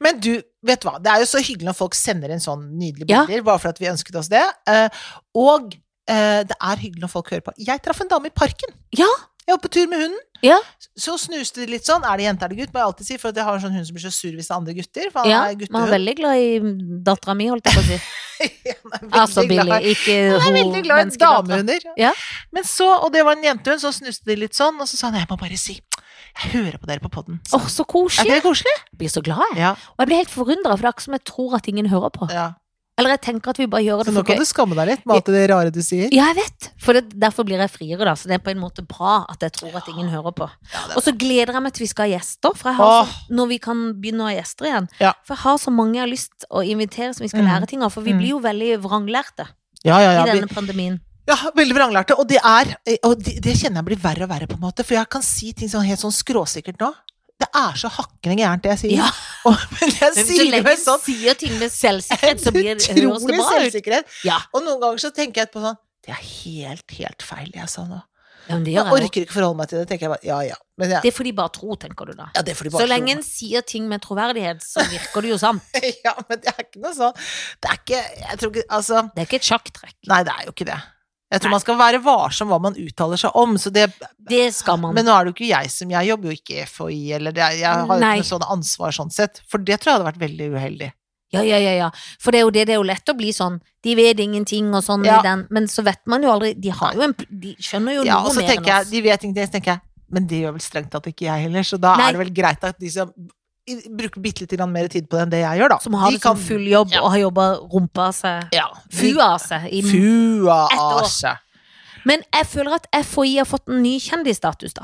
Speaker 1: Men du, vet du hva, det er jo så hyggelig når folk sender inn sånn nydelige
Speaker 2: Ja.
Speaker 1: bilder, bare for at vi ønsket oss det. Eh, og eh, det er hyggelig når folk hører på. Jeg traff en dame i parken.
Speaker 2: Ja.
Speaker 1: Jeg var på tur med hunden.
Speaker 2: Ja.
Speaker 1: Så snuste de litt sånn. Er det jente, er det gutt? Må jeg alltid si, for jeg har en sånn hund som blir så sur hvis det er andre gutter. For han
Speaker 2: Ja,
Speaker 1: er
Speaker 2: man er
Speaker 1: guttehund.
Speaker 2: veldig glad i dattera mi, holdt jeg på å si.
Speaker 1: Han er veldig
Speaker 2: Altså
Speaker 1: glad.
Speaker 2: Billy, ikke
Speaker 1: Jeg er
Speaker 2: hun
Speaker 1: veldig glad i
Speaker 2: menneskedattera.
Speaker 1: damehunder.
Speaker 2: Ja.
Speaker 1: Men så, og det var en jentehund, så snuste de litt sånn, og så sa han jeg må bare si jeg hører på dere på poden.
Speaker 2: Åh, så
Speaker 1: Er
Speaker 2: koselig!
Speaker 1: ikke det koselig?
Speaker 2: Jeg blir så glad, jeg.
Speaker 1: Ja.
Speaker 2: Og jeg blir helt forundra, for det er akkurat som jeg tror at ingen hører på.
Speaker 1: ja.
Speaker 2: Eller jeg tenker at vi bare gjør
Speaker 1: Så
Speaker 2: det
Speaker 1: nå
Speaker 2: for
Speaker 1: kan
Speaker 2: gøy.
Speaker 1: du skamme deg litt med alt det rare du sier.
Speaker 2: Ja, jeg vet. For det, derfor blir jeg friere, da. Så det er på en måte bra at jeg tror at ingen hører på.
Speaker 1: Ja, det
Speaker 2: Og så gleder jeg meg til vi skal ha gjester, for jeg har
Speaker 1: Åh.
Speaker 2: så, når vi kan begynne å ha gjester igjen.
Speaker 1: Ja.
Speaker 2: For jeg har så mange jeg har lyst å invitere som vi skal
Speaker 1: Mm.
Speaker 2: lære ting av, for
Speaker 1: Mm.
Speaker 2: vi blir jo veldig vranglærte
Speaker 1: Ja, ja, ja,
Speaker 2: i
Speaker 1: vi-
Speaker 2: denne pandemien.
Speaker 1: Ja, veldig vranglærte. Og det er Og det, det kjenner jeg blir verre og verre, på en måte. For jeg kan si ting sånn helt sånn skråsikkert nå. Det er så hakkende gærent, det jeg sier.
Speaker 2: Ja.
Speaker 1: Og, men jeg
Speaker 2: Men hvis
Speaker 1: sier
Speaker 2: du
Speaker 1: det
Speaker 2: legger
Speaker 1: med sånn
Speaker 2: sier ting med selvsikkerhet, så blir det høres det
Speaker 1: utrolig
Speaker 2: bra ut.
Speaker 1: selvsikkerhet.
Speaker 2: Ja.
Speaker 1: Og noen ganger så tenker jeg etterpå sånn Det er helt, helt feil, jeg sa nå.
Speaker 2: Ja, men det
Speaker 1: Jeg
Speaker 2: gjør jeg jo.
Speaker 1: orker ikke forholde meg til det. tenker jeg bare, ja, ja. Men jeg,
Speaker 2: Det får de bare tro, tenker du da.
Speaker 1: ja, det får de bare
Speaker 2: Så lenge
Speaker 1: tro.
Speaker 2: en sier ting med troverdighet, så virker det jo sant.
Speaker 1: Ja, sånn. men det er ikke noe sånn Det er ikke Jeg tror ikke Altså,
Speaker 2: Det er ikke et sjakktrekk.
Speaker 1: nei, det er jo ikke det. Jeg tror man skal være varsom hva man uttaler seg om. Så det,
Speaker 2: Det skal man.
Speaker 1: men nå er det jo ikke jeg som Jeg jobber jo ikke i FHI, eller det, jeg har jo
Speaker 2: Nei.
Speaker 1: ikke noe sånn ansvar sånn sett. For det tror jeg hadde vært veldig uheldig.
Speaker 2: Ja, ja, ja, ja. For det er jo det, det er jo lett å bli sånn. De vet ingenting og sånn
Speaker 1: Ja.
Speaker 2: i den, men så vet man jo aldri De har jo en pl- De skjønner jo
Speaker 1: Ja,
Speaker 2: noe
Speaker 1: og så
Speaker 2: mer enn
Speaker 1: tenker jeg,
Speaker 2: oss.
Speaker 1: de vet ingenting, så tenker jeg, men det gjør vel strengt tatt ikke jeg heller, så da
Speaker 2: Nei.
Speaker 1: er det vel greit at de som i- bruker bitte lite grann mer tid på det enn det jeg gjør, da.
Speaker 2: Som har
Speaker 1: de
Speaker 2: det som full jobb
Speaker 1: Ja.
Speaker 2: og har jobba rumpa av seg
Speaker 1: ja,
Speaker 2: Fua av seg. i-
Speaker 1: Fua
Speaker 2: Ett år.
Speaker 1: av seg.
Speaker 2: Men jeg føler at FHI har fått en ny kjendisstatus, da.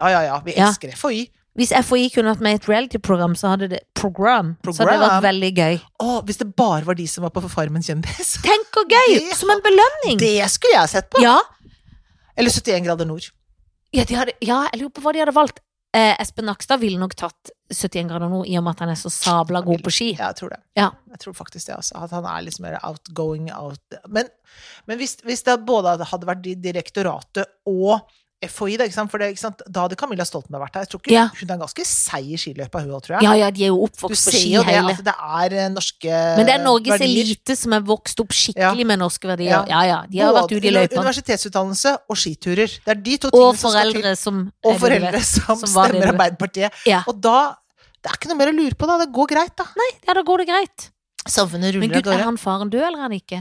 Speaker 1: Ja, ja, ja. Vi
Speaker 2: Ja.
Speaker 1: elsker FHI.
Speaker 2: Hvis FHI kunne vært med i et reality-program, så hadde det program, Så hadde det
Speaker 1: Program.
Speaker 2: vært veldig gøy.
Speaker 1: Å, hvis det bare var de som var på Farmen kjendis.
Speaker 2: Tenk hvor gøy!
Speaker 1: Det-
Speaker 2: Som en belønning!
Speaker 1: Det skulle jeg sett på.
Speaker 2: Ja,
Speaker 1: Eller 71 grader nord.
Speaker 2: ja, de hadde, ja, jeg lurer på hva de hadde valgt. Eh, Espen Nakstad ville nok tatt 71 grader nå, i og med at han er så sabla god på ski.
Speaker 1: Ja, jeg tror det.
Speaker 2: Ja.
Speaker 1: Jeg tror faktisk det også. At han er litt mer outgoing. Out. Men, men hvis, hvis det både hadde vært de- direktoratet og FHI, da, ikke sant? For det, ikke sant? da hadde Camilla Stoltenberg vært her. Jeg tror ikke,
Speaker 2: Ja.
Speaker 1: Hun er ganske seig i skiløypa, hun òg, tror jeg.
Speaker 2: Ja, ja, de er
Speaker 1: du
Speaker 2: jo oppvokst på
Speaker 1: ser
Speaker 2: ski
Speaker 1: jo det
Speaker 2: hele.
Speaker 1: at det er eh, norske
Speaker 2: Men det er Norges
Speaker 1: verdier.
Speaker 2: elite som er vokst opp skikkelig med norske verdier.
Speaker 1: Ja.
Speaker 2: Ja, ja, de har vært
Speaker 1: Både
Speaker 2: ute i løypa.
Speaker 1: Universitetsutdannelse og skiturer. Det er de to
Speaker 2: Og
Speaker 1: tingene som skal til. Og
Speaker 2: foreldre som er
Speaker 1: foreldre
Speaker 2: bedre.
Speaker 1: som,
Speaker 2: som var
Speaker 1: stemmer
Speaker 2: det du-
Speaker 1: Arbeiderpartiet.
Speaker 2: Ja.
Speaker 1: Og da Det er ikke noe mer å lure på, da. Det går greit, da.
Speaker 2: Ja, da går det greit.
Speaker 1: Samfunnet
Speaker 2: Men
Speaker 1: ruller av
Speaker 2: gud, er
Speaker 1: gårde.
Speaker 2: han faren død, eller er han ikke?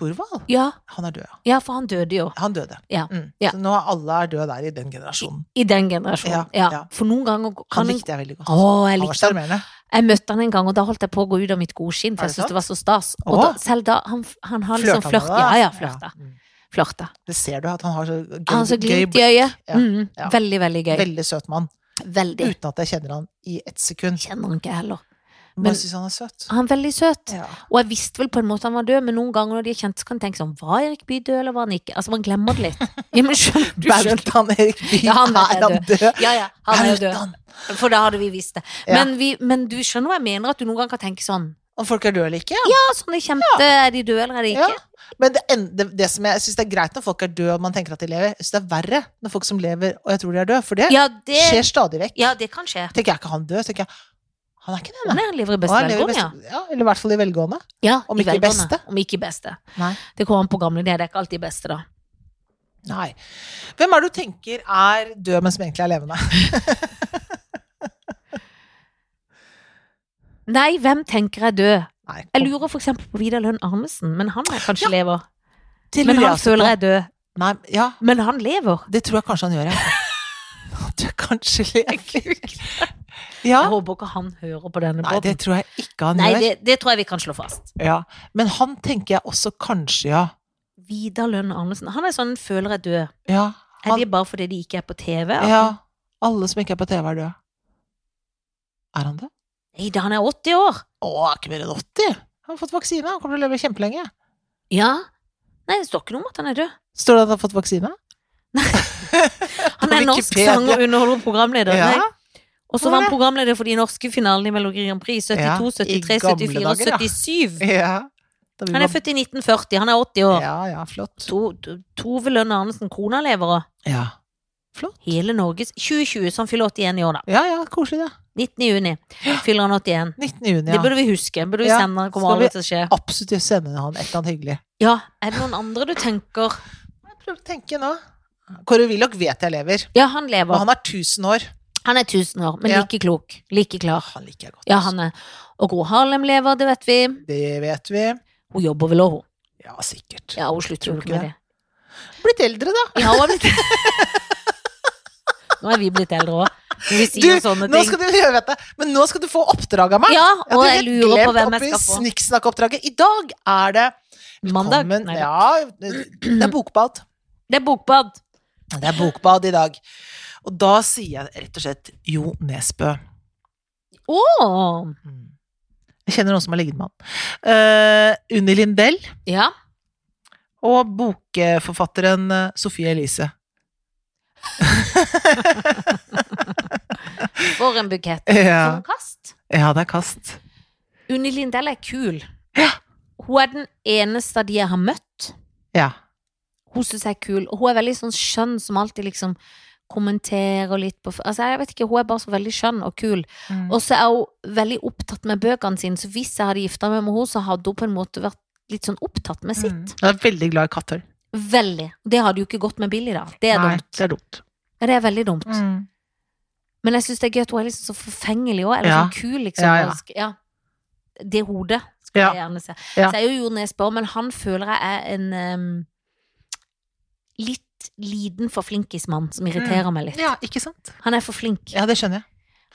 Speaker 1: Thorvald,
Speaker 2: Ja,
Speaker 1: han er død, ja.
Speaker 2: ja for han døde jo.
Speaker 1: Han døde.
Speaker 2: Ja.
Speaker 1: Mm.
Speaker 2: Ja.
Speaker 1: Så nå er alle er døde der i den generasjonen.
Speaker 2: I den generasjonen.
Speaker 1: Ja,
Speaker 2: Ja,
Speaker 1: ja.
Speaker 2: For noen ganger
Speaker 1: Han
Speaker 2: kan en
Speaker 1: likte jeg veldig godt.
Speaker 2: Å, jeg
Speaker 1: han var
Speaker 2: likte han.
Speaker 1: sjarmerende.
Speaker 2: Jeg møtte han en gang, og da holdt jeg på å gå ut av mitt godskinn,
Speaker 1: Er
Speaker 2: for jeg
Speaker 1: det
Speaker 2: syntes
Speaker 1: sant?
Speaker 2: det var så stas. Og
Speaker 1: Å.
Speaker 2: da, selv da Han, han har liksom
Speaker 1: Flørta han
Speaker 2: flørt.
Speaker 1: med deg,
Speaker 2: Ja,
Speaker 1: da?
Speaker 2: ja, flørta.
Speaker 1: Ja. Mm.
Speaker 2: Flørta.
Speaker 1: Det ser du at han har så gøy,
Speaker 2: Han har så
Speaker 1: gøy
Speaker 2: glimt i øyet.
Speaker 1: Ja,
Speaker 2: Mm,
Speaker 1: ja.
Speaker 2: Veldig, veldig gøy.
Speaker 1: Veldig søt mann.
Speaker 2: Veldig.
Speaker 1: Uten at jeg kjenner han i ett sekund.
Speaker 2: Kjenner han ikke jeg heller.
Speaker 1: Men
Speaker 2: Men-
Speaker 1: jeg syns han er søt.
Speaker 2: Han er veldig søt.
Speaker 1: Ja.
Speaker 2: Og jeg visste vel på en måte han var død, men noen ganger når de er kjent, så kan jeg tenke sånn Var Erik Bye død, eller var han ikke? Altså, man glemmer det litt. Ja, men skjønner du skjønner.
Speaker 1: Bautaen Erik Bye,
Speaker 2: Ja, han er
Speaker 1: er han død?
Speaker 2: Ja, ja, han er jo død.
Speaker 1: Bautaen.
Speaker 2: For da hadde vi visst det.
Speaker 1: Ja.
Speaker 2: Men, vi, men du skjønner hva jeg mener, at du noen ganger kan tenke sånn
Speaker 1: Om folk er døde eller ikke?
Speaker 2: Ja, sånn er kjempe Er de døde, eller er de ikke?
Speaker 1: Ja. Men det, en- det, det som jeg, jeg syns det er greit når folk er døde og man tenker at de lever. Jeg syns det er verre når folk som lever og jeg tror de er døde, for det,
Speaker 2: Ja, det,
Speaker 1: skjer stadig vekk.
Speaker 2: ja, det kan skje.
Speaker 1: Tenker jeg ikke han død, tenker jeg han er ikke det,
Speaker 2: Nei,
Speaker 1: nei.
Speaker 2: han lever i
Speaker 1: Og
Speaker 2: beste
Speaker 1: han lever i
Speaker 2: velgående, ja.
Speaker 1: beste- ja, eller i hvert fall i velgående.
Speaker 2: ja.
Speaker 1: Om
Speaker 2: i
Speaker 1: ikke i
Speaker 2: velgående.
Speaker 1: beste.
Speaker 2: Om ikke i beste.
Speaker 1: Nei.
Speaker 2: Det kommer an på gamle ideer. Det er ikke alltid beste, da.
Speaker 1: Nei. Hvem er det du tenker er død, men som egentlig er levende?
Speaker 2: Nei, hvem tenker jeg død?
Speaker 1: Nei,
Speaker 2: Jeg lurer for eksempel på Vidar Lønn Arnesen, men han er kanskje
Speaker 1: Ja,
Speaker 2: lever.
Speaker 1: det
Speaker 2: Men
Speaker 1: lurer
Speaker 2: han
Speaker 1: også
Speaker 2: føler
Speaker 1: på.
Speaker 2: jeg er død.
Speaker 1: Nei, ja,
Speaker 2: Men han lever.
Speaker 1: det tror jeg kanskje han gjør, ja. Du er kanskje lever. Ja.
Speaker 2: Jeg håper ikke han hører på denne
Speaker 1: Nei, det
Speaker 2: båten.
Speaker 1: tror jeg ikke han
Speaker 2: Nei,
Speaker 1: gjør.
Speaker 2: det, det tror jeg vi kan slå fast.
Speaker 1: Ja. Men han tenker jeg også kanskje, ja.
Speaker 2: Vidar Lønn Arnesen. Han er sånn føler jeg død.
Speaker 1: Ja.
Speaker 2: Er
Speaker 1: Han-
Speaker 2: det bare fordi de ikke er på TV? at
Speaker 1: ja.
Speaker 2: han-
Speaker 1: Alle som ikke er på TV, er døde. Er han det?
Speaker 2: Nei, da han er 80 år.
Speaker 1: Å, er ikke mer enn 80. Han har fått vaksine. Han kommer til å leve kjempelenge.
Speaker 2: Ja. Nei, det står ikke noe om at han er død.
Speaker 1: Står det at han har fått vaksine?
Speaker 2: Han
Speaker 1: På
Speaker 2: er norsk
Speaker 1: Wikipedia.
Speaker 2: sanger og underholder programleder.
Speaker 1: Ja.
Speaker 2: Nei. Og så
Speaker 1: Hvorfor
Speaker 2: var han
Speaker 1: det?
Speaker 2: programleder for de norske finalene i Melodi Grand Prix. 72,
Speaker 1: Ja, i
Speaker 2: 73,
Speaker 1: gamle
Speaker 2: 74
Speaker 1: dager, ja.
Speaker 2: og 77.
Speaker 1: ja. Da vi
Speaker 2: Han er
Speaker 1: var-
Speaker 2: født i 1940. Han er 80 år.
Speaker 1: Ja, ja, flott.
Speaker 2: To, to- Tove Lønn Arnesen, kona lever og
Speaker 1: Ja.
Speaker 2: hele Norges 2020, så han fyller 81 i år, da.
Speaker 1: Ja, ja, koselig det.
Speaker 2: 19. juni fyller han 81.
Speaker 1: 19. juni,
Speaker 2: Det
Speaker 1: ja.
Speaker 2: burde vi huske. Burde vi
Speaker 1: Ja,
Speaker 2: sende han, kommer
Speaker 1: skal vi-
Speaker 2: aldri til å skje.
Speaker 1: Absolutt sende han et eller annet hyggelig.
Speaker 2: Ja, er det noen andre du tenker
Speaker 1: Jeg prøver å tenke nå. Kåre Willoch vet jeg lever,
Speaker 2: Ja, han
Speaker 1: men
Speaker 2: lever.
Speaker 1: han er 1000 år.
Speaker 2: Han er 1000 år, men
Speaker 1: Ja.
Speaker 2: like klok. Like klar.
Speaker 1: Han liker jeg godt.
Speaker 2: Ja,
Speaker 1: altså.
Speaker 2: han er Og Gro Harlem lever, det vet vi.
Speaker 1: Det vet vi.
Speaker 2: Hun jobber vel òg, hun.
Speaker 1: Ja, sikkert.
Speaker 2: Ja, hun slutter jo
Speaker 1: Tror du
Speaker 2: ikke med det.
Speaker 1: Blitt eldre, da.
Speaker 2: Ja, hun er blitt Nå er vi blitt eldre òg. Vi
Speaker 1: Du,
Speaker 2: sier sånne
Speaker 1: nå
Speaker 2: ting.
Speaker 1: skal du gjøre dette, men nå skal du få oppdrag av meg.
Speaker 2: Ja,
Speaker 1: Jeg
Speaker 2: og
Speaker 1: hadde
Speaker 2: jeg
Speaker 1: helt
Speaker 2: lurer på
Speaker 1: glemt
Speaker 2: hvem jeg
Speaker 1: oppi
Speaker 2: skal få.
Speaker 1: Snikksnakk-oppdraget. I dag er det
Speaker 2: Mandag?
Speaker 1: Velkommen-
Speaker 2: Nei,
Speaker 1: Ja, det er bokbad.
Speaker 2: Det er bokbad.
Speaker 1: Det er bokbad i dag. Og da sier jeg rett og slett Jo Nesbø.
Speaker 2: Å!
Speaker 1: Mm. Jeg kjenner noen som har ligget med han. Eh, Unni Lindell
Speaker 2: Ja.
Speaker 1: og bokforfatteren eh, Sofie Elise.
Speaker 2: For en bukett. For
Speaker 1: Ja,
Speaker 2: en kast.
Speaker 1: ja det er kast.
Speaker 2: Unni Lindell er kul.
Speaker 1: Ja.
Speaker 2: Hun er den eneste av de jeg har møtt.
Speaker 1: Ja.
Speaker 2: Hun syns jeg er kul. Og hun er veldig sånn skjønn som alltid liksom kommenterer litt på Altså, jeg vet ikke, hun er bare så veldig skjønn og kul.
Speaker 1: Mm.
Speaker 2: Og så er hun veldig opptatt med bøkene sine, så hvis jeg hadde gifta meg med henne, så hadde hun på en måte vært litt sånn opptatt med sitt.
Speaker 1: Mm. Jeg er veldig glad i katter.
Speaker 2: Veldig. Det hadde jo ikke gått med Billy, da. Det er,
Speaker 1: Nei,
Speaker 2: dumt.
Speaker 1: det er dumt.
Speaker 2: Ja, det er veldig dumt.
Speaker 1: Mm.
Speaker 2: Men jeg syns det er gøy at hun er liksom så forfengelig òg. Eller
Speaker 1: Ja.
Speaker 2: sånn kul, liksom.
Speaker 1: Ja, ja.
Speaker 2: Sk- ja. Det hodet skal
Speaker 1: Ja.
Speaker 2: jeg gjerne se.
Speaker 1: Ja.
Speaker 2: Så er jo Jo Nesbø, men han føler jeg er en em, litt liten for flinkismann som irriterer meg litt.
Speaker 1: Mm. Ja, ikke sant?
Speaker 2: Han er for flink.
Speaker 1: Ja, det skjønner jeg.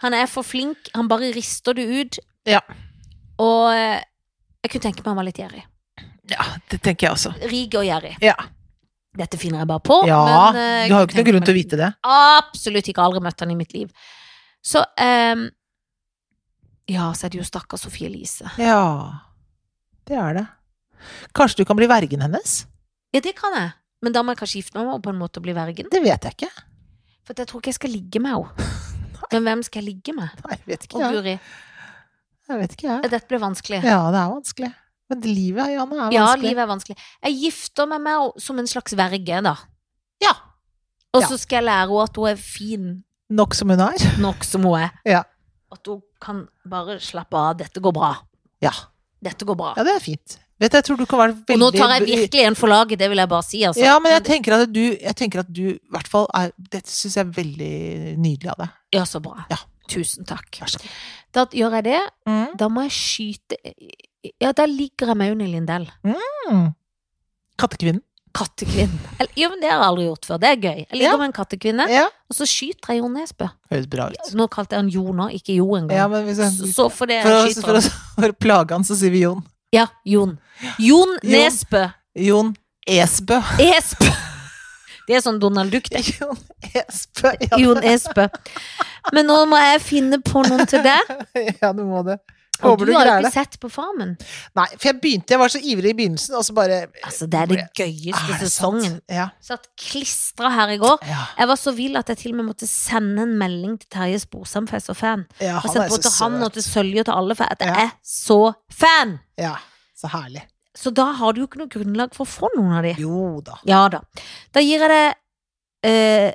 Speaker 2: Han er for flink, han bare rister det ut.
Speaker 1: Ja.
Speaker 2: Og eh, jeg kunne tenke meg han var litt gjerrig.
Speaker 1: Ja, det tenker jeg også.
Speaker 2: Rig og gjerrig.
Speaker 1: Ja,
Speaker 2: Dette finner jeg bare på.
Speaker 1: ja
Speaker 2: men, eh, jeg
Speaker 1: du har jo ikke noen
Speaker 2: kunne tenke
Speaker 1: grunn
Speaker 2: meg
Speaker 1: til å vite det.
Speaker 2: Absolutt ikke. Aldri møtt han i mitt liv. Så ehm, Ja, så er det jo stakkars Sofie Elise.
Speaker 1: Ja, det er det. Kanskje du kan bli vergen hennes?
Speaker 2: Ja, det kan jeg. Men da må jeg kanskje gifte meg med henne og på en måte bli vergen.
Speaker 1: Det vet jeg ikke.
Speaker 2: For jeg tror ikke jeg skal ligge med henne. Men hvem skal jeg ligge med?
Speaker 1: Nei, jeg vet
Speaker 2: Å,
Speaker 1: ikke jeg.
Speaker 2: Guri.
Speaker 1: jeg vet ikke jeg.
Speaker 2: Dette ble vanskelig.
Speaker 1: Ja, det er vanskelig. Men livet, Janne, er
Speaker 2: Ja,
Speaker 1: vanskelig.
Speaker 2: livet er vanskelig. Jeg gifter meg med henne som en slags verge, da.
Speaker 1: Ja.
Speaker 2: Og
Speaker 1: Ja.
Speaker 2: så skal jeg lære henne at hun er fin
Speaker 1: Nok som hun er.
Speaker 2: nok som hun er.
Speaker 1: Ja.
Speaker 2: At hun kan bare slappe av. Dette går bra.
Speaker 1: Ja.
Speaker 2: Dette går bra.
Speaker 1: ja, det er fint. Vet du, jeg tror du kan være veldig
Speaker 2: Og nå tar jeg virkelig en for laget, det vil jeg bare si, altså.
Speaker 1: Ja, men jeg tenker at du, jeg tenker at du i hvert fall er Dette syns jeg er veldig nydelig av deg.
Speaker 2: Ja, så bra.
Speaker 1: Ja.
Speaker 2: Tusen takk.
Speaker 1: Vær så god.
Speaker 2: Da gjør jeg det.
Speaker 1: Mm.
Speaker 2: Da må jeg skyte Ja, da ligger jeg med Unni Lindell.
Speaker 1: Kattekvinnen.
Speaker 2: Kattekvinnen. Eller- Ja, men det har jeg aldri gjort før. Det er gøy. Jeg ligger
Speaker 1: Ja.
Speaker 2: med en kattekvinne,
Speaker 1: Ja.
Speaker 2: og så skyter jeg Jo Nesbø.
Speaker 1: Høres bra ut.
Speaker 2: Nå kalte jeg han Jo nå, ikke Jo engang.
Speaker 1: Ja, men hvis
Speaker 2: så,
Speaker 1: jeg,
Speaker 2: så for det
Speaker 1: for, å,
Speaker 2: jeg skyter
Speaker 1: for,
Speaker 2: han.
Speaker 1: å, for å plage han, så sier vi Jon.
Speaker 2: Ja, Jon. Jon Nesbø.
Speaker 1: Jon Esbø.
Speaker 2: Esbø. Det er sånn Donald Duck, det.
Speaker 1: Jon Esbø. Ja,
Speaker 2: Jon Esbø. Men nå må jeg finne på noen til deg.
Speaker 1: ja du må det.
Speaker 2: Og
Speaker 1: Håper
Speaker 2: du
Speaker 1: du
Speaker 2: har jo
Speaker 1: greier
Speaker 2: ikke
Speaker 1: det.
Speaker 2: sett på Farmen.
Speaker 1: Nei, for jeg begynte, jeg var så ivrig i begynnelsen, og så bare Ah,
Speaker 2: Altså, det er det
Speaker 1: Er
Speaker 2: gøyeste
Speaker 1: det sant?
Speaker 2: sesongen.
Speaker 1: Ja.
Speaker 2: Satt klistra her i går.
Speaker 1: ja.
Speaker 2: Jeg var så vill at jeg til og med måtte sende en melding til Terje Sporsem, for jeg er så fan.
Speaker 1: ja
Speaker 2: Og
Speaker 1: han
Speaker 2: sett
Speaker 1: er så
Speaker 2: både til han og
Speaker 1: søt.
Speaker 2: til Sølje og til alle, for at jeg
Speaker 1: Ja.
Speaker 2: er så fan!
Speaker 1: Ja, så herlig.
Speaker 2: Så da har du jo ikke noe grunnlag for å få noen av de.
Speaker 1: Jo da.
Speaker 2: Ja da. Da gir jeg det eh,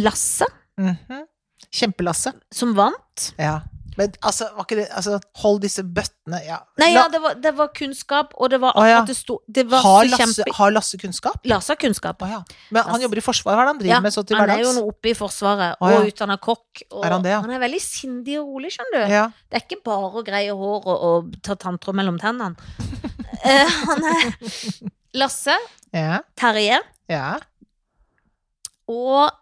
Speaker 2: Lasse,
Speaker 1: Mhm. Kjempelasse.
Speaker 2: som vant.
Speaker 1: Ja. Men altså, var ikke det altså, Hold disse bøttene ja.
Speaker 2: Nei, ja,
Speaker 1: La-
Speaker 2: det var, det var kunnskap, og det var
Speaker 1: Å, ja.
Speaker 2: akkurat det sto Det var
Speaker 1: har,
Speaker 2: så
Speaker 1: Lasse,
Speaker 2: kjempe...
Speaker 1: har Lasse kunnskap?
Speaker 2: Lasse har kunnskap.
Speaker 1: Å ja. Men han
Speaker 2: Lasse-
Speaker 1: jobber i Forsvaret, hva er det han driver
Speaker 2: Ja,
Speaker 1: med så til
Speaker 2: Han er jo
Speaker 1: hverdags?
Speaker 2: nå oppe i Forsvaret,
Speaker 1: Å, ja.
Speaker 2: og utdanna kokk. Og
Speaker 1: Er han det, ja?
Speaker 2: han er veldig sindig og rolig, skjønner du.
Speaker 1: Ja.
Speaker 2: Det er ikke bare å greie hår og, og ta tanntråd mellom tennene. Eh, han er Lasse,
Speaker 1: Ja.
Speaker 2: Terje
Speaker 1: ja.
Speaker 2: og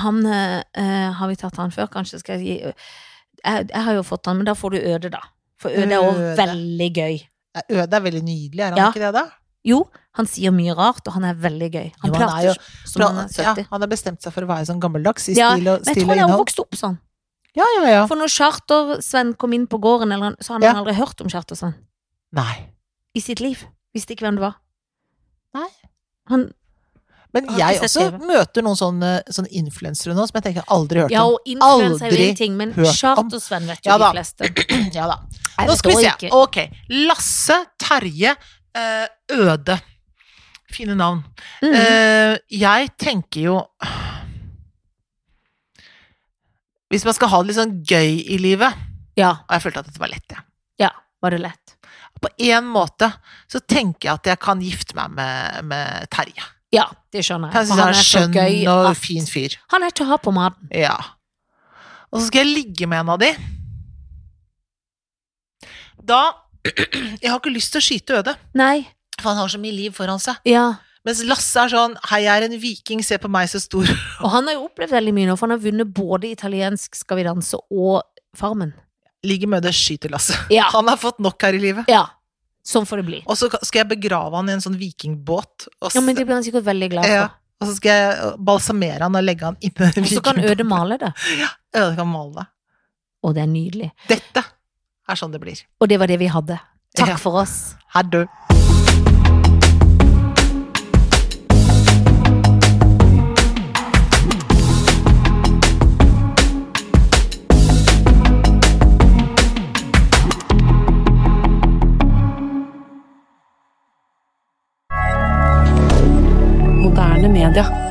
Speaker 2: Han eh, eh, Har vi tatt han før, kanskje? Skal jeg gi jeg, jeg har jo fått han, men da får du Øde, da. For Øde er òg
Speaker 1: Øde.
Speaker 2: veldig gøy.
Speaker 1: Ja, Øde er veldig nydelig, er han
Speaker 2: Ja.
Speaker 1: ikke det, da?
Speaker 2: Jo, han sier mye rart, og han er veldig gøy. Han
Speaker 1: Jo, han er
Speaker 2: prater
Speaker 1: jo-
Speaker 2: som han er
Speaker 1: ja,
Speaker 2: 70.
Speaker 1: han har bestemt seg for å være sånn gammeldags i
Speaker 2: Ja,
Speaker 1: stil og,
Speaker 2: Men jeg
Speaker 1: stil
Speaker 2: tror
Speaker 1: og
Speaker 2: han er
Speaker 1: innhold.
Speaker 2: vokst opp sånn.
Speaker 1: Ja, ja, ja.
Speaker 2: For når Charter-Sven kom inn på gården, eller, han- så hadde
Speaker 1: Ja.
Speaker 2: han aldri hørt om Charter-Sven.
Speaker 1: Nei.
Speaker 2: i sitt liv. Visste ikke hvem det var.
Speaker 1: Nei.
Speaker 2: Han,
Speaker 1: Men
Speaker 2: Har
Speaker 1: jeg
Speaker 2: ikke sett
Speaker 1: også
Speaker 2: TV.
Speaker 1: møter noen sånne, sånne influensere nå som jeg tenker jeg aldri har hørt
Speaker 2: ja,
Speaker 1: om.
Speaker 2: og influensa er jo
Speaker 1: aldri
Speaker 2: en ting, men
Speaker 1: hørt om.
Speaker 2: Charter-Sven vet jo
Speaker 1: Ja da.
Speaker 2: de fleste.
Speaker 1: Ja da.
Speaker 2: Jeg
Speaker 1: Nå
Speaker 2: vet
Speaker 1: skal vi
Speaker 2: også
Speaker 1: se.
Speaker 2: ikke.
Speaker 1: Ok. Lasse, Terje, eh, Øde. Fine navn.
Speaker 2: Mm.
Speaker 1: Eh, jeg tenker jo Hvis man skal ha det litt sånn gøy i livet
Speaker 2: Ja,
Speaker 1: Og jeg følte at dette var lett, jeg.
Speaker 2: var det lett.
Speaker 1: På én måte så tenker jeg at jeg kan gifte meg med, med Terje.
Speaker 2: Ja, det skjønner
Speaker 1: Jeg
Speaker 2: jeg.
Speaker 1: synes
Speaker 2: For
Speaker 1: han
Speaker 2: han
Speaker 1: er
Speaker 2: er så
Speaker 1: skjønn
Speaker 2: gøy
Speaker 1: og
Speaker 2: at
Speaker 1: fin fyr.
Speaker 2: Han er til å ha på maten.
Speaker 1: Ja. Og så skal jeg ligge med en av de. Da Jeg har ikke lyst til å skyte Øde,
Speaker 2: Nei.
Speaker 1: for han har så mye liv foran seg.
Speaker 2: Ja.
Speaker 1: Mens Lasse er sånn Hei, jeg er en viking, se på meg så stor.
Speaker 2: Og han har jo opplevd veldig mye nå, for han har vunnet både italiensk Skal vi danse og Farmen.
Speaker 1: Ligger med Øde, skyter Lasse.
Speaker 2: Ja.
Speaker 1: Han har fått nok her i livet.
Speaker 2: ja. Sånn får det bli.
Speaker 1: Og så skal jeg begrave han i en sånn vikingbåt, og, s-
Speaker 2: Ja, men det blir han sikkert veldig glad
Speaker 1: Ja.
Speaker 2: for.
Speaker 1: og så skal jeg øh, balsamere han og legge han inni en
Speaker 2: Og så kan
Speaker 1: vikingbåt.
Speaker 2: Øde male det.
Speaker 1: Øde kan male det.
Speaker 2: Og det er nydelig.
Speaker 1: Dette er sånn det blir.
Speaker 2: Og det var det vi hadde.
Speaker 1: Ja.
Speaker 2: Takk for oss.
Speaker 1: Her død.
Speaker 3: Moderne media.